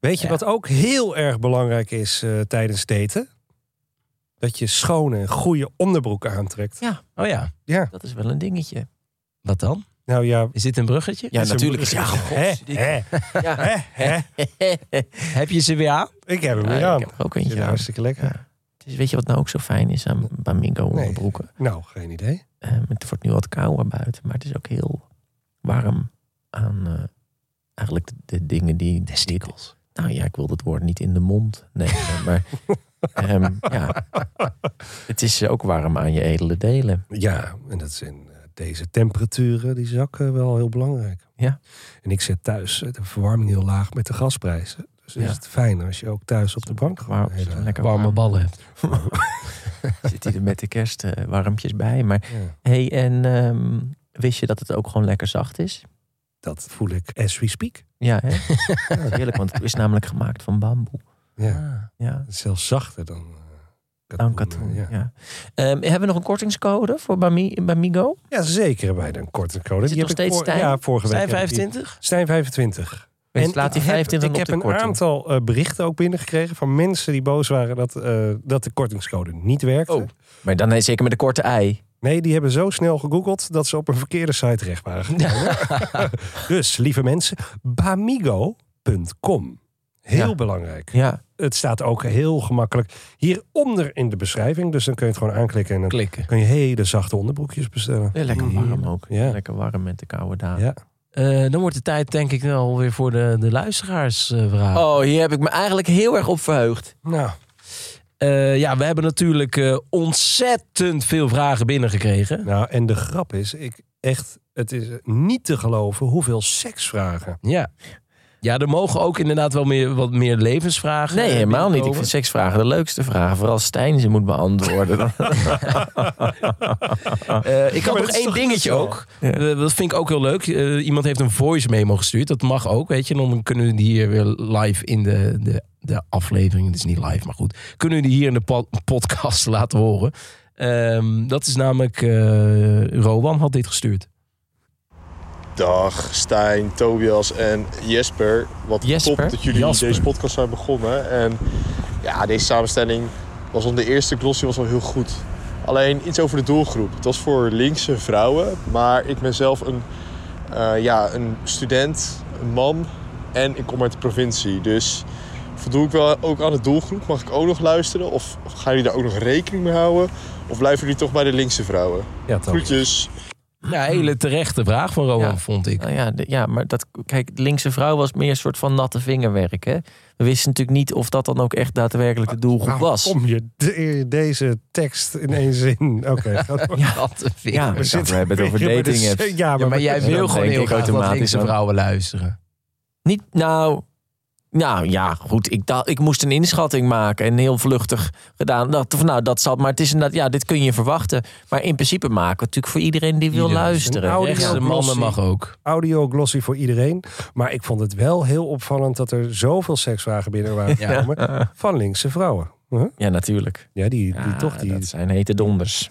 Speaker 1: Weet je wat ook heel erg belangrijk is eh, tijdens daten? Dat je schone, en goede onderbroeken aantrekt.
Speaker 2: Oh ja,
Speaker 4: Dat is wel een dingetje.
Speaker 2: wat dan?
Speaker 1: Nou ja.
Speaker 2: Is dit een bruggetje?
Speaker 4: Ja,
Speaker 1: is een-
Speaker 4: natuurlijk. Is, ja,
Speaker 1: Hè,
Speaker 4: god, dit-
Speaker 1: hè,
Speaker 4: ja.
Speaker 1: hè, hè.
Speaker 2: Heb je ze weer aan?
Speaker 1: Ik heb hem
Speaker 4: Ja,
Speaker 1: weer aan.
Speaker 4: ik heb er ook
Speaker 1: Zit
Speaker 4: eentje aan.
Speaker 1: hartstikke lekker.
Speaker 4: Dus weet je wat nou ook zo fijn is aan Bamingo onderbroeken?
Speaker 1: Nou, geen idee.
Speaker 4: Ehm, het wordt nu wat kouder buiten, maar het is ook heel warm aan eh, eigenlijk de, de dingen die... Testikels. Nou ja, ik wil dat woord niet in de mond nemen,
Speaker 1: *laughs*
Speaker 4: maar ehm, ja. het is ook warm aan je edele delen.
Speaker 1: Ja, en dat is in eh, deze temperaturen, die zakken wel heel belangrijk.
Speaker 4: Ja.
Speaker 1: En ik zet thuis eh, de verwarming heel laag met de gasprijzen. Dus
Speaker 4: Ja.
Speaker 1: is het fijn als je ook thuis op de bank
Speaker 4: Warm,
Speaker 1: gewoon
Speaker 4: zo'n
Speaker 1: hele-
Speaker 4: lekker
Speaker 2: Warme
Speaker 4: warm-
Speaker 2: ballen hebt.
Speaker 4: Zit hij er met de kerst eh, warmpjes bij. Maar
Speaker 1: Ja,
Speaker 4: hey, en ehm, wist je dat het ook gewoon lekker zacht is?
Speaker 1: dat voel ik as we speak.
Speaker 4: Ja, hè?
Speaker 1: *laughs*
Speaker 4: Dat is heerlijk, want het is namelijk gemaakt van bamboe.
Speaker 1: Ja.
Speaker 4: Ja,
Speaker 1: Het is zelfs zachter dan eh,
Speaker 4: dan
Speaker 1: eh,
Speaker 4: katoen.
Speaker 1: Ja.
Speaker 4: Ja. Ehm, hebben we nog een kortingscode voor Bami- Bamigo?
Speaker 1: Ja, zeker hebben wij dan een korte code.
Speaker 4: Is het
Speaker 1: Die
Speaker 4: nog
Speaker 1: heb ik
Speaker 4: steeds
Speaker 1: voor-
Speaker 4: Stijn?
Speaker 1: Ja, vorige week.
Speaker 2: Zijn
Speaker 1: heb ik die-
Speaker 2: 25?
Speaker 1: Stijn 25.
Speaker 4: En
Speaker 1: En
Speaker 4: slaat die
Speaker 1: ik heb-
Speaker 4: 15 dan
Speaker 1: Ik
Speaker 4: op
Speaker 1: heb
Speaker 4: de
Speaker 1: een
Speaker 4: korting?
Speaker 1: aantal eh, berichten ook binnengekregen van mensen die boos waren dat, eh, dat de kortingscode niet werkte.
Speaker 4: Oh. Maar dan is zeker met de korte ei.
Speaker 1: Nee, die hebben zo snel gegoogeld dat ze op een verkeerde site terecht waren gekomen.
Speaker 4: *laughs*
Speaker 1: dus, lieve mensen, bamigo.com. Heel
Speaker 4: Ja.
Speaker 1: belangrijk.
Speaker 4: Ja,
Speaker 1: Het staat ook heel gemakkelijk hieronder in de beschrijving. Dus dan kun je het gewoon aanklikken en dan
Speaker 2: Klikken.
Speaker 1: kun je hele zachte onderbroekjes bestellen.
Speaker 4: Mm. Ja, lekker warm ook.
Speaker 1: Ja.
Speaker 4: Lekker warm met de koude dagen.
Speaker 1: Ja.
Speaker 2: Eh, dan wordt de tijd denk ik wel weer voor de, eh, de luisteraarsvraag.
Speaker 4: Oh, hier heb ik me eigenlijk heel erg op verheugd.
Speaker 1: Nou,
Speaker 2: Eh, ja, we hebben natuurlijk eh, ontzettend veel vragen binnengekregen.
Speaker 1: nou, en de grap is, ik echt, het is niet te geloven hoeveel seksvragen.
Speaker 2: Ja. Ja, er mogen ook inderdaad wel meer, wat meer levensvragen.
Speaker 4: Nee,
Speaker 2: eh,
Speaker 4: helemaal niet. Ik
Speaker 2: binnenkomen.
Speaker 4: vind seksvragen de leukste vragen. Vooral Stijn ze moet *laughs* beantwoorden. Dan-
Speaker 2: Eh, ik
Speaker 1: maar
Speaker 2: had
Speaker 1: dat
Speaker 2: nog
Speaker 1: is
Speaker 2: één
Speaker 1: toch
Speaker 2: dingetje
Speaker 1: zo?
Speaker 2: ook. Eh, dat vind ik ook heel leuk. Eh, iemand heeft een voice memo gestuurd. Dat mag ook, weet je. Dan kunnen we die hier weer live in de, de, de aflevering. Het is niet live, maar goed. Kunnen we die hier in de po- podcast *laughs* laten horen. Ehm, dat is namelijk... eh Rowan had dit gestuurd.
Speaker 6: Dag Stijn, Tobias en Jesper. Wat
Speaker 4: Jesper?
Speaker 6: top dat jullie
Speaker 2: Jasper.
Speaker 6: deze podcast zijn begonnen. En ja, deze samenstelling was al de eerste glossy was al heel goed. Alleen iets over de doelgroep. Het was voor linkse vrouwen, maar ik ben zelf een, eh, ja, een student, een man en ik kom uit de provincie. Dus voldoe ik wel ook aan de doelgroep? Mag ik ook nog luisteren? Of gaan jullie daar ook nog rekening mee houden? Of blijven jullie toch bij de linkse vrouwen?
Speaker 1: Ja, toch.
Speaker 6: Groetjes.
Speaker 2: Ja, hele terechte vraag van Rowan,
Speaker 4: Ja.
Speaker 2: vond ik.
Speaker 4: Nou ja, de- ja, maar dat, kijk, de linkse vrouw was meer een soort van natte vingerwerk. Hè? We wisten natuurlijk niet of dat dan ook echt daadwerkelijk de doelgroep
Speaker 1: Waarom
Speaker 4: was.
Speaker 1: Kom je de- deze tekst in één zin? Oké,
Speaker 4: *laughs*
Speaker 1: gaat door.
Speaker 2: Wat een vinger.
Speaker 4: Ja,
Speaker 2: Ja,
Speaker 4: ik dacht,
Speaker 1: zitten
Speaker 4: we hebben het over
Speaker 1: weer bij de
Speaker 4: dating
Speaker 1: se-
Speaker 4: apps.
Speaker 1: Ja, maar,
Speaker 2: maar jij
Speaker 4: dan
Speaker 2: wil gewoon
Speaker 4: denk
Speaker 2: heel
Speaker 4: ik
Speaker 2: graag dat
Speaker 4: automatisch
Speaker 2: linkse
Speaker 4: aan-
Speaker 2: vrouwen luisteren.
Speaker 4: Niet, nou, nou ja, goed. Ik, dacht, ik moest een inschatting maken en heel vluchtig gedaan. Dacht van, nou, dat zal, maar het is inderdaad, ja, dit kun je verwachten. Maar in principe maken we het natuurlijk voor iedereen die wil
Speaker 2: Iedereen.
Speaker 4: luisteren.
Speaker 1: Een oude
Speaker 4: Ja.
Speaker 2: Rechtse mannen mag ook.
Speaker 1: audio glossy voor iedereen. Maar ik vond het wel heel opvallend dat er zoveel seksvragen binnen waren gekomen van linkse vrouwen. Huh?
Speaker 4: Ja, natuurlijk.
Speaker 1: Ja, die, die
Speaker 4: Ja,
Speaker 1: toch die.
Speaker 4: Dat zijn hete donders.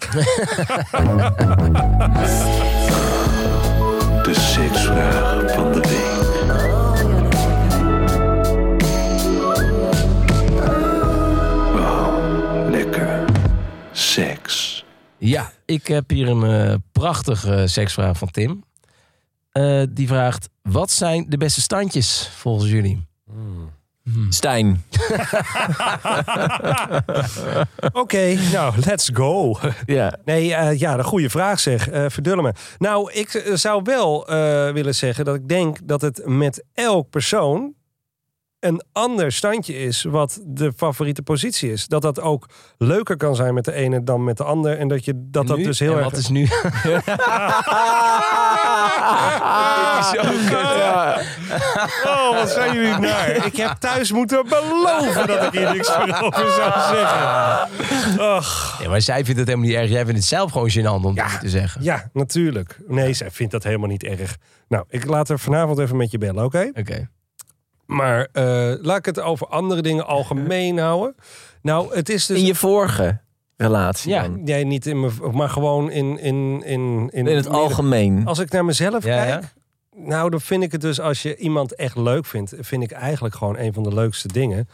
Speaker 5: De seksvraag van de week. Wauw, lekker. Seks.
Speaker 2: Ja, ik heb hier een eh, prachtige seksvraag van Tim. Eh, die vraagt, wat zijn de beste standjes volgens jullie?
Speaker 4: Hmm. Stijn,
Speaker 1: Oké, nou, let's go.
Speaker 4: ja,
Speaker 1: Nee, eh, ja, een goede vraag zeg. Eh verdullen me. Nou, ik eh, zou wel eh, willen zeggen dat ik denk dat het met elk persoon een ander standje is wat de favoriete positie is. Dat dat ook leuker kan zijn met de ene dan met de ander. En dat je dat, dat
Speaker 2: Nu?
Speaker 1: dus heel
Speaker 2: en
Speaker 1: erg...
Speaker 2: wat is
Speaker 1: *laughs*
Speaker 2: nu? *laughs*
Speaker 1: *laughs* Oh, wat zijn jullie naar. Ik heb thuis moeten beloven dat ik hier niks meer over zou zeggen. Ach,
Speaker 2: Nee, maar zij vindt het helemaal niet erg. Jij vindt het zelf gewoon gênant om dat te zeggen.
Speaker 1: ja, natuurlijk. Nee, zij vindt dat helemaal niet erg. Nou, ik laat haar vanavond even met je bellen, oké?
Speaker 2: Oké.
Speaker 1: Maar eh, laat ik het over andere dingen algemeen houden. Nou, het is dus...
Speaker 4: in je vorige relatie
Speaker 2: Ja.
Speaker 4: dan.
Speaker 1: Nee, niet in mijn... Maar gewoon in... In, in,
Speaker 4: In het algemeen.
Speaker 1: Als ik naar mezelf
Speaker 2: Ja,
Speaker 1: kijk... Nou, dan vind ik het dus als je iemand echt leuk vindt... vind ik eigenlijk gewoon een van de leukste dingen.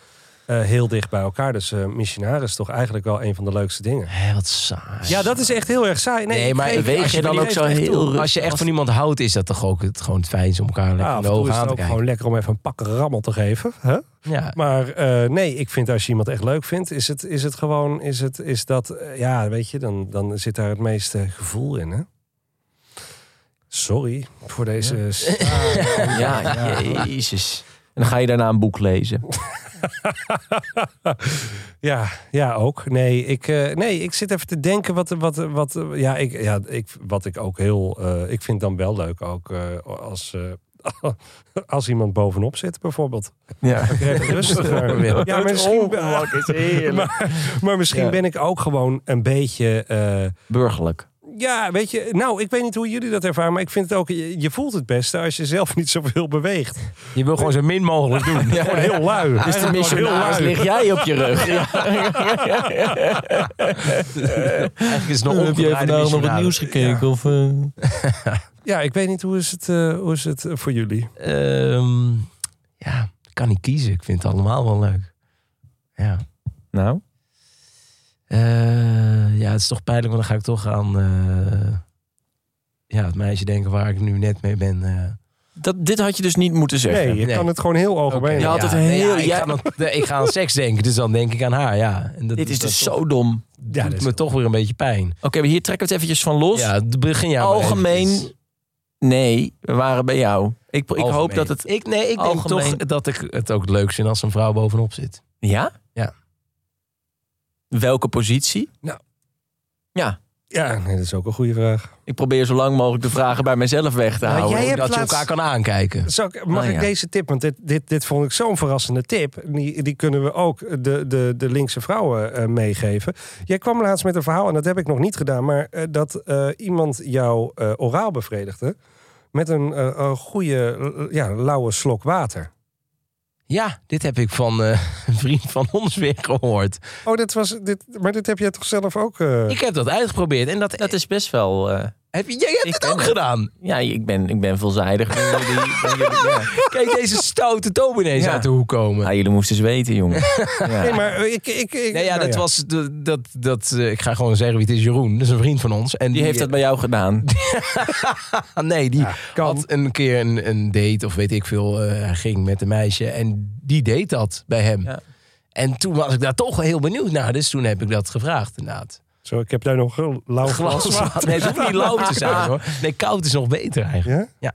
Speaker 1: eh, heel dicht bij elkaar. Dus eh missionaris is toch eigenlijk wel een van de leukste dingen.
Speaker 2: Hé, wat saai.
Speaker 1: Ja, dat is echt heel erg saai. Nee,
Speaker 2: Nee, maar
Speaker 1: geef-
Speaker 4: Weeg
Speaker 1: als
Speaker 4: je dan
Speaker 1: die
Speaker 4: ook zo
Speaker 1: leeft, echt
Speaker 4: heel
Speaker 1: toe.
Speaker 4: rustig?
Speaker 2: Als je echt van iemand houdt, is dat toch ook het, gewoon het fijnste om elkaar lekker
Speaker 1: Ja, Ah, af
Speaker 2: in de
Speaker 1: en toe
Speaker 2: ogen
Speaker 1: is
Speaker 2: aan
Speaker 1: het
Speaker 2: te
Speaker 1: ook
Speaker 2: kijken.
Speaker 1: gewoon lekker om even een pak rammel te geven. Hè?
Speaker 2: Ja.
Speaker 1: Maar eh, nee, ik vind als je iemand echt leuk vindt, is het, is het gewoon, is, het, is dat, eh, ja, weet je, dan, dan zit daar het meeste gevoel in, hè? Sorry voor deze. Ja.
Speaker 4: Ja, jezus. En dan ga je daarna een boek lezen.
Speaker 1: ja, ja, ook. Nee ik, eh, nee, ik zit even te denken wat, wat, wat, ja, ik, ja, ik, wat ik ook heel, eh, ik vind dan wel leuk ook eh, als, eh, *laughs* als iemand bovenop zit, bijvoorbeeld.
Speaker 4: Ja.
Speaker 1: Ik kreeg rust. Maar, ja, maar misschien, *laughs* maar, maar misschien
Speaker 4: Ja.
Speaker 1: ben ik ook gewoon een beetje. eh,
Speaker 4: Burgerlijk.
Speaker 1: ja, weet je, nou, ik weet niet hoe jullie dat ervaren, maar ik vind het ook. Je, je voelt het beste als je zelf *laughs* niet zoveel beweegt.
Speaker 2: Je wil gewoon zo min mogelijk doen. Ja.
Speaker 1: Gewoon heel lui.
Speaker 4: Dus de
Speaker 1: Eigenlijk gewoon heel
Speaker 4: missionaris
Speaker 1: lui.
Speaker 4: lig jij op je rug. Ja.
Speaker 2: *laughs*
Speaker 4: *laughs*
Speaker 2: Eigenlijk is het nog
Speaker 7: heb jij
Speaker 2: omgedraaide
Speaker 7: vandaag nog het
Speaker 2: missionaris.
Speaker 7: nieuws gekeken? Of, eh,
Speaker 1: Ja, ik weet niet hoe is het, eh, hoe is het eh, voor jullie.
Speaker 2: Ehm, ja, ik kan niet kiezen. Ik vind het allemaal wel leuk. Ja.
Speaker 4: Nou,
Speaker 2: Eh, ja, het is toch pijnlijk, want dan ga ik toch aan eh, ja, het meisje denken waar ik nu net mee ben. eh.
Speaker 4: dat, dit had je dus niet moeten zeggen.
Speaker 1: Nee, je
Speaker 2: nee.
Speaker 1: kan het gewoon heel algemeen.
Speaker 2: Oké,
Speaker 4: Oh, Je had
Speaker 2: ja,
Speaker 4: het een
Speaker 2: nee,
Speaker 4: heel-
Speaker 2: ja, ik,
Speaker 4: jij-
Speaker 2: ga dan- nee, ik ga aan seks denken, dus dan denk ik aan haar. Ja. En dat,
Speaker 4: Dit is
Speaker 2: dat
Speaker 4: dus
Speaker 2: toch-
Speaker 4: zo dom.
Speaker 1: Ja,
Speaker 2: doet
Speaker 1: dat is
Speaker 2: me toch weer een beetje pijn.
Speaker 4: Oké, maar hier trekken we het eventjes van los.
Speaker 2: Ja, het begin jij maar
Speaker 4: Algemeen,
Speaker 2: eventjes.
Speaker 4: Nee, we waren bij jou. Ik, ik hoop
Speaker 2: Algemeen.
Speaker 4: dat het...
Speaker 2: Ik, nee, ik denk
Speaker 4: Algemeen.
Speaker 2: toch dat ik het ook leuk vind als een vrouw bovenop zit.
Speaker 4: Ja?
Speaker 2: Ja.
Speaker 4: Welke positie?
Speaker 1: Ja, nee, dat is ook een goede vraag.
Speaker 4: Ik probeer zo lang mogelijk de vragen bij mezelf weg te
Speaker 1: Maar
Speaker 4: houden.
Speaker 1: jij hebt
Speaker 2: dat je
Speaker 1: laatst-
Speaker 2: elkaar kan aankijken.
Speaker 1: Zal ik, mag
Speaker 2: Nou
Speaker 4: Ah, ja.
Speaker 1: ik deze tip? Want dit, dit, dit vond ik zo'n verrassende tip. Die, die kunnen we ook de, de, de linkse vrouwen eh, meegeven. Jij kwam laatst met een verhaal, en dat heb ik nog niet gedaan, maar eh, dat eh, iemand jou eh, oraal bevredigde. Met een eh, een goede, eh, ja, lauwe slok water.
Speaker 2: Ja, dit heb ik van eh, *laughs* een vriend van ons weer gehoord.
Speaker 1: Oh, dit was, dit, maar dit heb jij toch zelf ook... eh,
Speaker 2: Ik heb dat uitgeprobeerd. En dat,
Speaker 4: Dat is best wel... eh,
Speaker 2: heb je, jij hebt
Speaker 4: Ik
Speaker 2: het
Speaker 4: ken
Speaker 2: ook
Speaker 4: het. *laughs*
Speaker 2: gedaan.
Speaker 4: ja, ik ben, ik ben veelzijdig. Dan jullie- dan jullie- ja.
Speaker 2: Kijk deze stoute toon ineens
Speaker 4: Ja.
Speaker 2: uit de hoek komen.
Speaker 4: Ah, jullie moesten zweten, jongen. Ja.
Speaker 1: Nee, maar ik... ik, ik
Speaker 2: nee, ja,
Speaker 1: nou
Speaker 2: dat was... de- Dat, dat, eh, ik ga gewoon zeggen wie het is. Jeroen, dat is een vriend van ons. En eh,
Speaker 4: Die heeft dat bij jou gedaan.
Speaker 2: Ah, nee, die
Speaker 1: kan.
Speaker 2: had een keer een, een date of weet ik veel. eh, Hij ging met een meisje en die deed dat bij hem.
Speaker 4: Ja.
Speaker 2: En toen was ik daar toch heel benieuwd naar. Dus toen heb ik dat gevraagd inderdaad.
Speaker 1: Zo, ik heb daar nog een lauw glas
Speaker 2: Glas
Speaker 1: water.
Speaker 2: water. Nee, het hoeft *laughs* niet lauw te zijn hoor. Nee, koud is nog beter eigenlijk.
Speaker 1: Ja?
Speaker 2: Ja.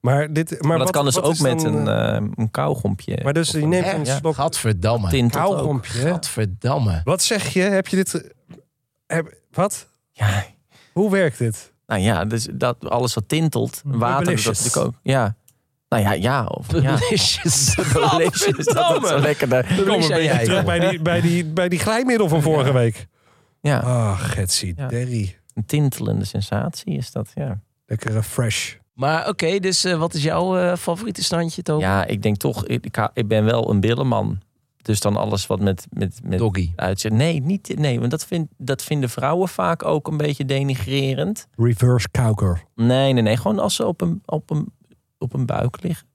Speaker 1: Maar, dit, maar,
Speaker 4: Maar dat
Speaker 1: wat-
Speaker 4: kan dus
Speaker 1: wat
Speaker 4: ook
Speaker 1: is
Speaker 4: met
Speaker 1: dan,
Speaker 4: een,
Speaker 1: eh,
Speaker 4: eh, een kauwgompje.
Speaker 1: maar dus die neemt
Speaker 2: Hè?
Speaker 1: een
Speaker 2: Ja.
Speaker 1: slok
Speaker 2: Gadverdamme.
Speaker 4: Tint dat ook.
Speaker 1: kauwgompje. hè?
Speaker 2: Gadverdamme.
Speaker 1: Wat zeg je? Heb je dit... ge- Heb, wat?
Speaker 4: Ja,
Speaker 1: Hoe werkt dit?
Speaker 4: nou ja, dus dat, alles wat tintelt. Water, dat is
Speaker 1: Bubblicious.
Speaker 4: natuurlijk ook. Ja. Nou ja, ja. Of,
Speaker 2: *laughs*
Speaker 4: ja.
Speaker 2: Delicious.
Speaker 4: Bubblicious, dat is zo
Speaker 2: Gadverdamme.
Speaker 4: lekker daar.
Speaker 2: Kom maar
Speaker 1: Beetje
Speaker 2: jij.
Speaker 1: terug bij die, bij, die, bij die glijmiddel van vorige week.
Speaker 4: Ja,
Speaker 1: Ah, Getsie,
Speaker 4: Ja.
Speaker 1: Derry.
Speaker 4: een tintelende sensatie is dat, ja.
Speaker 1: Lekkere fresh.
Speaker 2: Maar oké, dus eh, wat is jouw eh, favoriete standje, Toon?
Speaker 4: Ja, ik denk toch, ik, ik hou- ik ben wel een billenman. Dus dan alles wat met, met, met
Speaker 2: Doggy.
Speaker 4: uitzet. Nee, niet, nee want dat, vind, dat vinden vrouwen vaak ook een beetje denigrerend.
Speaker 1: Reverse cowgirl.
Speaker 4: Nee, nee, nee. Gewoon als ze op een, op een, op een buik liggen.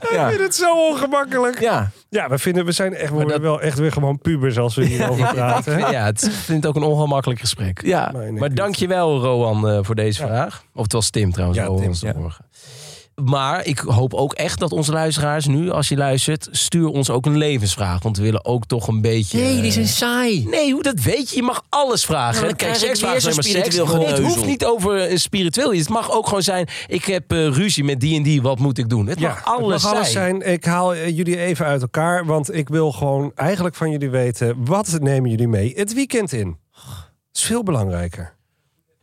Speaker 1: Ik
Speaker 4: ja.
Speaker 1: vind het zo ongemakkelijk. Ja,
Speaker 4: ja,
Speaker 1: we, vinden, we zijn echt, we
Speaker 2: Maar
Speaker 1: worden wel echt weer gewoon pubers als we
Speaker 4: *laughs*
Speaker 1: hierover praten. hè?
Speaker 2: Ja, het vindt ook een ongemakkelijk gesprek.
Speaker 4: ja.
Speaker 1: Nee, nee,
Speaker 2: Maar
Speaker 1: ik-
Speaker 2: dankjewel, Roan, eh, voor deze
Speaker 1: Ja.
Speaker 2: vraag. Of het was Tim trouwens.
Speaker 1: Ja,
Speaker 2: Rowan
Speaker 1: Tim,
Speaker 2: was de
Speaker 1: ja.
Speaker 2: vorige. Maar ik hoop ook echt dat onze luisteraars nu, als je luistert, stuur ons ook een levensvraag. Want we willen ook toch een beetje... eh,
Speaker 4: saai.
Speaker 2: Nee, hoe dat weet je? Je mag alles vragen.
Speaker 4: Nou, dan
Speaker 2: Kijk,
Speaker 4: krijg ik
Speaker 2: seksvragen
Speaker 4: weer
Speaker 2: zijn maar
Speaker 4: zo'n
Speaker 2: seks.
Speaker 4: spiritueel
Speaker 2: Nee, Het
Speaker 4: geneuzel.
Speaker 2: hoeft niet over eh, spiritueel iets. Het mag ook gewoon zijn, ik heb eh, ruzie met die en die, wat moet ik doen? Het
Speaker 1: Ja,
Speaker 2: mag alles
Speaker 1: het mag
Speaker 2: zijn.
Speaker 1: alles zijn. Ik haal eh, jullie even uit elkaar, want ik wil gewoon eigenlijk van jullie weten... wat nemen jullie mee het weekend in? Dat is veel belangrijker.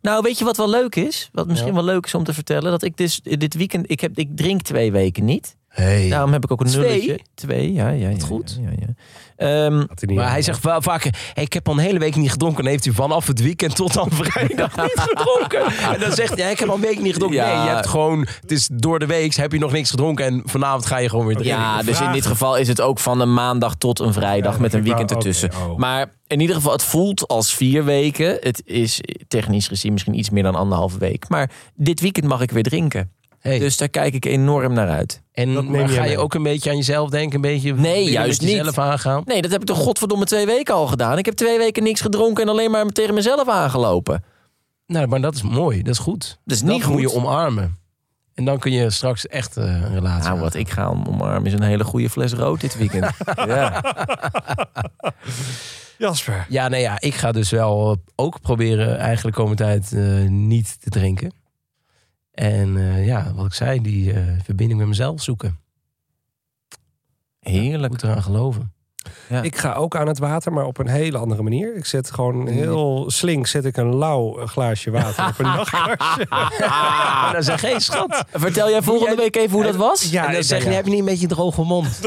Speaker 4: Nou, weet je wat wel leuk is? Wat misschien wel leuk is om te vertellen. Dat ik dus dit weekend, ik, heb, ik drink twee weken niet.
Speaker 2: Hey.
Speaker 4: Daarom heb ik ook een
Speaker 2: Twee?
Speaker 4: nulletje. Twee, ja, ja. ja
Speaker 2: goed.
Speaker 4: Ja, ja, ja. Ehm,
Speaker 1: Had niet
Speaker 2: maar hij zegt wel vaak, hey, ik heb al een hele week niet gedronken. En heeft hij vanaf het weekend tot aan vrijdag
Speaker 4: *laughs*
Speaker 2: niet gedronken. En dan zegt hij, ja, ik heb al een week niet gedronken.
Speaker 4: Ja.
Speaker 2: Nee, je hebt gewoon, het is door de week, heb je nog niks gedronken. En vanavond ga je gewoon weer drinken.
Speaker 4: Ja, dus in dit geval is het ook van een maandag tot een vrijdag
Speaker 1: Ja,
Speaker 4: met een
Speaker 1: ik wou-
Speaker 4: weekend
Speaker 1: oké,
Speaker 4: ertussen.
Speaker 1: oh.
Speaker 4: Maar in ieder geval, het voelt als vier weken. Het is technisch gezien misschien iets meer dan anderhalve week. Maar dit weekend mag ik weer drinken.
Speaker 2: Hey.
Speaker 4: Dus daar kijk ik enorm naar uit.
Speaker 2: En
Speaker 1: Dat neem
Speaker 2: maar
Speaker 1: je
Speaker 2: ga je
Speaker 1: mee.
Speaker 2: ook een beetje aan jezelf denken? Een beetje wil je
Speaker 4: juist
Speaker 2: met
Speaker 4: niet.
Speaker 2: jezelf aangaan?
Speaker 4: Nee, dat heb ik toch godverdomme twee weken al gedaan. Ik heb twee weken niks gedronken en alleen maar tegen mezelf aangelopen.
Speaker 2: Nou, maar dat is mooi. Dat is goed.
Speaker 4: Dat is
Speaker 2: Dat
Speaker 4: niet
Speaker 2: moet je
Speaker 4: goed.
Speaker 2: omarmen. En dan kun je straks echt eh, een relatie
Speaker 4: Nou,
Speaker 2: aan.
Speaker 4: wat ik ga om- omarmen is een hele goede fles rood dit weekend. ja.
Speaker 1: Jasper.
Speaker 2: Ja, nee, ja, ik ga dus wel eh, ook proberen eigenlijk komende tijd eh, niet te drinken. En eh, ja, wat ik zei, die eh, verbinding met mezelf zoeken. Ik
Speaker 4: Heerlijk.
Speaker 2: moet eraan geloven.
Speaker 1: Ik ga ook aan het water, maar op een hele andere manier. Ik zet gewoon heel slink zet ik een lauw eh, glaasje water *laughs* op een nachtkastje.
Speaker 2: Ah, dan zeg
Speaker 1: *laughs*
Speaker 2: geen schat.
Speaker 4: Vertel jij volgende week even hoe dat was?
Speaker 1: Ja,
Speaker 2: en dan zeg je, heb je niet een beetje droge mond?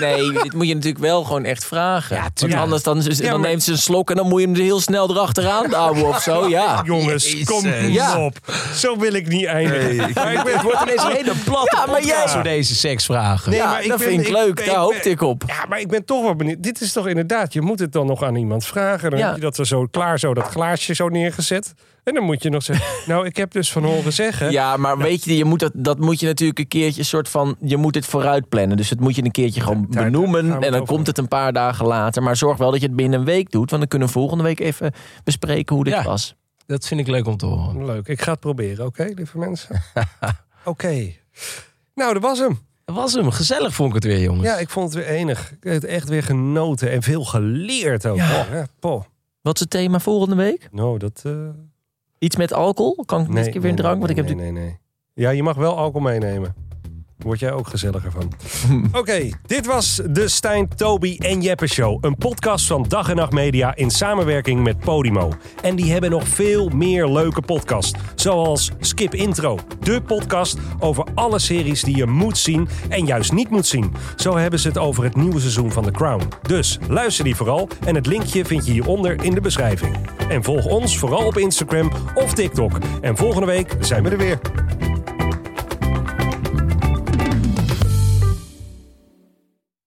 Speaker 4: Nee, dit moet je natuurlijk wel gewoon echt vragen. Ja, Want
Speaker 1: tuurlijk.
Speaker 4: anders dan, dan
Speaker 1: maar-
Speaker 4: neemt ze een slok en dan moet je hem er heel snel erachteraan douwen of zo. Ja.
Speaker 1: Jongens,
Speaker 2: Jezus.
Speaker 1: kom
Speaker 4: Ja.
Speaker 1: op. Zo wil ik niet eindigen. Maar ik ben-
Speaker 2: Het wordt ineens een hele platte
Speaker 4: Ja, maar jij-
Speaker 2: podcast door deze seksvragen.
Speaker 1: Nee,
Speaker 4: Ja,
Speaker 1: maar ik
Speaker 4: dat
Speaker 1: ben-
Speaker 4: vind ik
Speaker 1: ik-
Speaker 4: leuk.
Speaker 1: ik
Speaker 4: Daar
Speaker 1: ben-
Speaker 4: hoopte ik op.
Speaker 1: Ja, maar ik ben toch wel benieuwd. Dit is toch inderdaad, je moet het dan nog aan iemand vragen. Dan
Speaker 4: Ja.
Speaker 1: heb je dat er zo klaar, zo dat glaasje zo neergezet. En dan moet je nog
Speaker 4: *laughs*
Speaker 1: zeggen, nou, ik heb dus van horen zeggen.
Speaker 4: Ja, maar weet je, je moet dat, dat moet je natuurlijk een keertje een soort van. Je moet het vooruit plannen. Dus het moet je een keertje gewoon
Speaker 1: daar- daar gaan we
Speaker 4: benoemen. En
Speaker 1: het
Speaker 4: dan
Speaker 1: over
Speaker 4: komt het een paar dagen later. Maar zorg wel dat je het binnen een week doet. Want dan kunnen we volgende week even bespreken hoe dit
Speaker 2: Ja.
Speaker 4: was.
Speaker 2: Dat vind ik leuk om te horen.
Speaker 1: Leuk, ik ga het proberen, oké, lieve
Speaker 4: *laughs*
Speaker 1: mensen? oké. Nou, dat was hem.
Speaker 2: Dat was hem. Gezellig vond ik het weer, jongens.
Speaker 1: Ja, ik vond het weer enig. Ik heb het echt weer genoten en veel geleerd ook. Oh, ja, poh.
Speaker 4: Wat is het thema volgende week?
Speaker 1: Nou, dat... eh,
Speaker 4: Iets met alcohol? Kan ik dit keer weer een drank? Want ik heb
Speaker 1: nee, nee, nee. Ja, je mag wel alcohol meenemen. Word jij ook gezelliger van. Oké, dit was de Stijn, Toby en Jeppe Show. Een podcast van Dag en Nacht Media in samenwerking met Podimo. En die hebben nog veel meer leuke podcasts. Zoals Skip Intro, de podcast over alle series die je moet zien en juist niet moet zien. Zo hebben ze het over het nieuwe seizoen van The Crown. Dus luister die vooral en het linkje vind je hieronder in de beschrijving. En volg ons vooral op Instagram of TikTok. En volgende week zijn we er weer.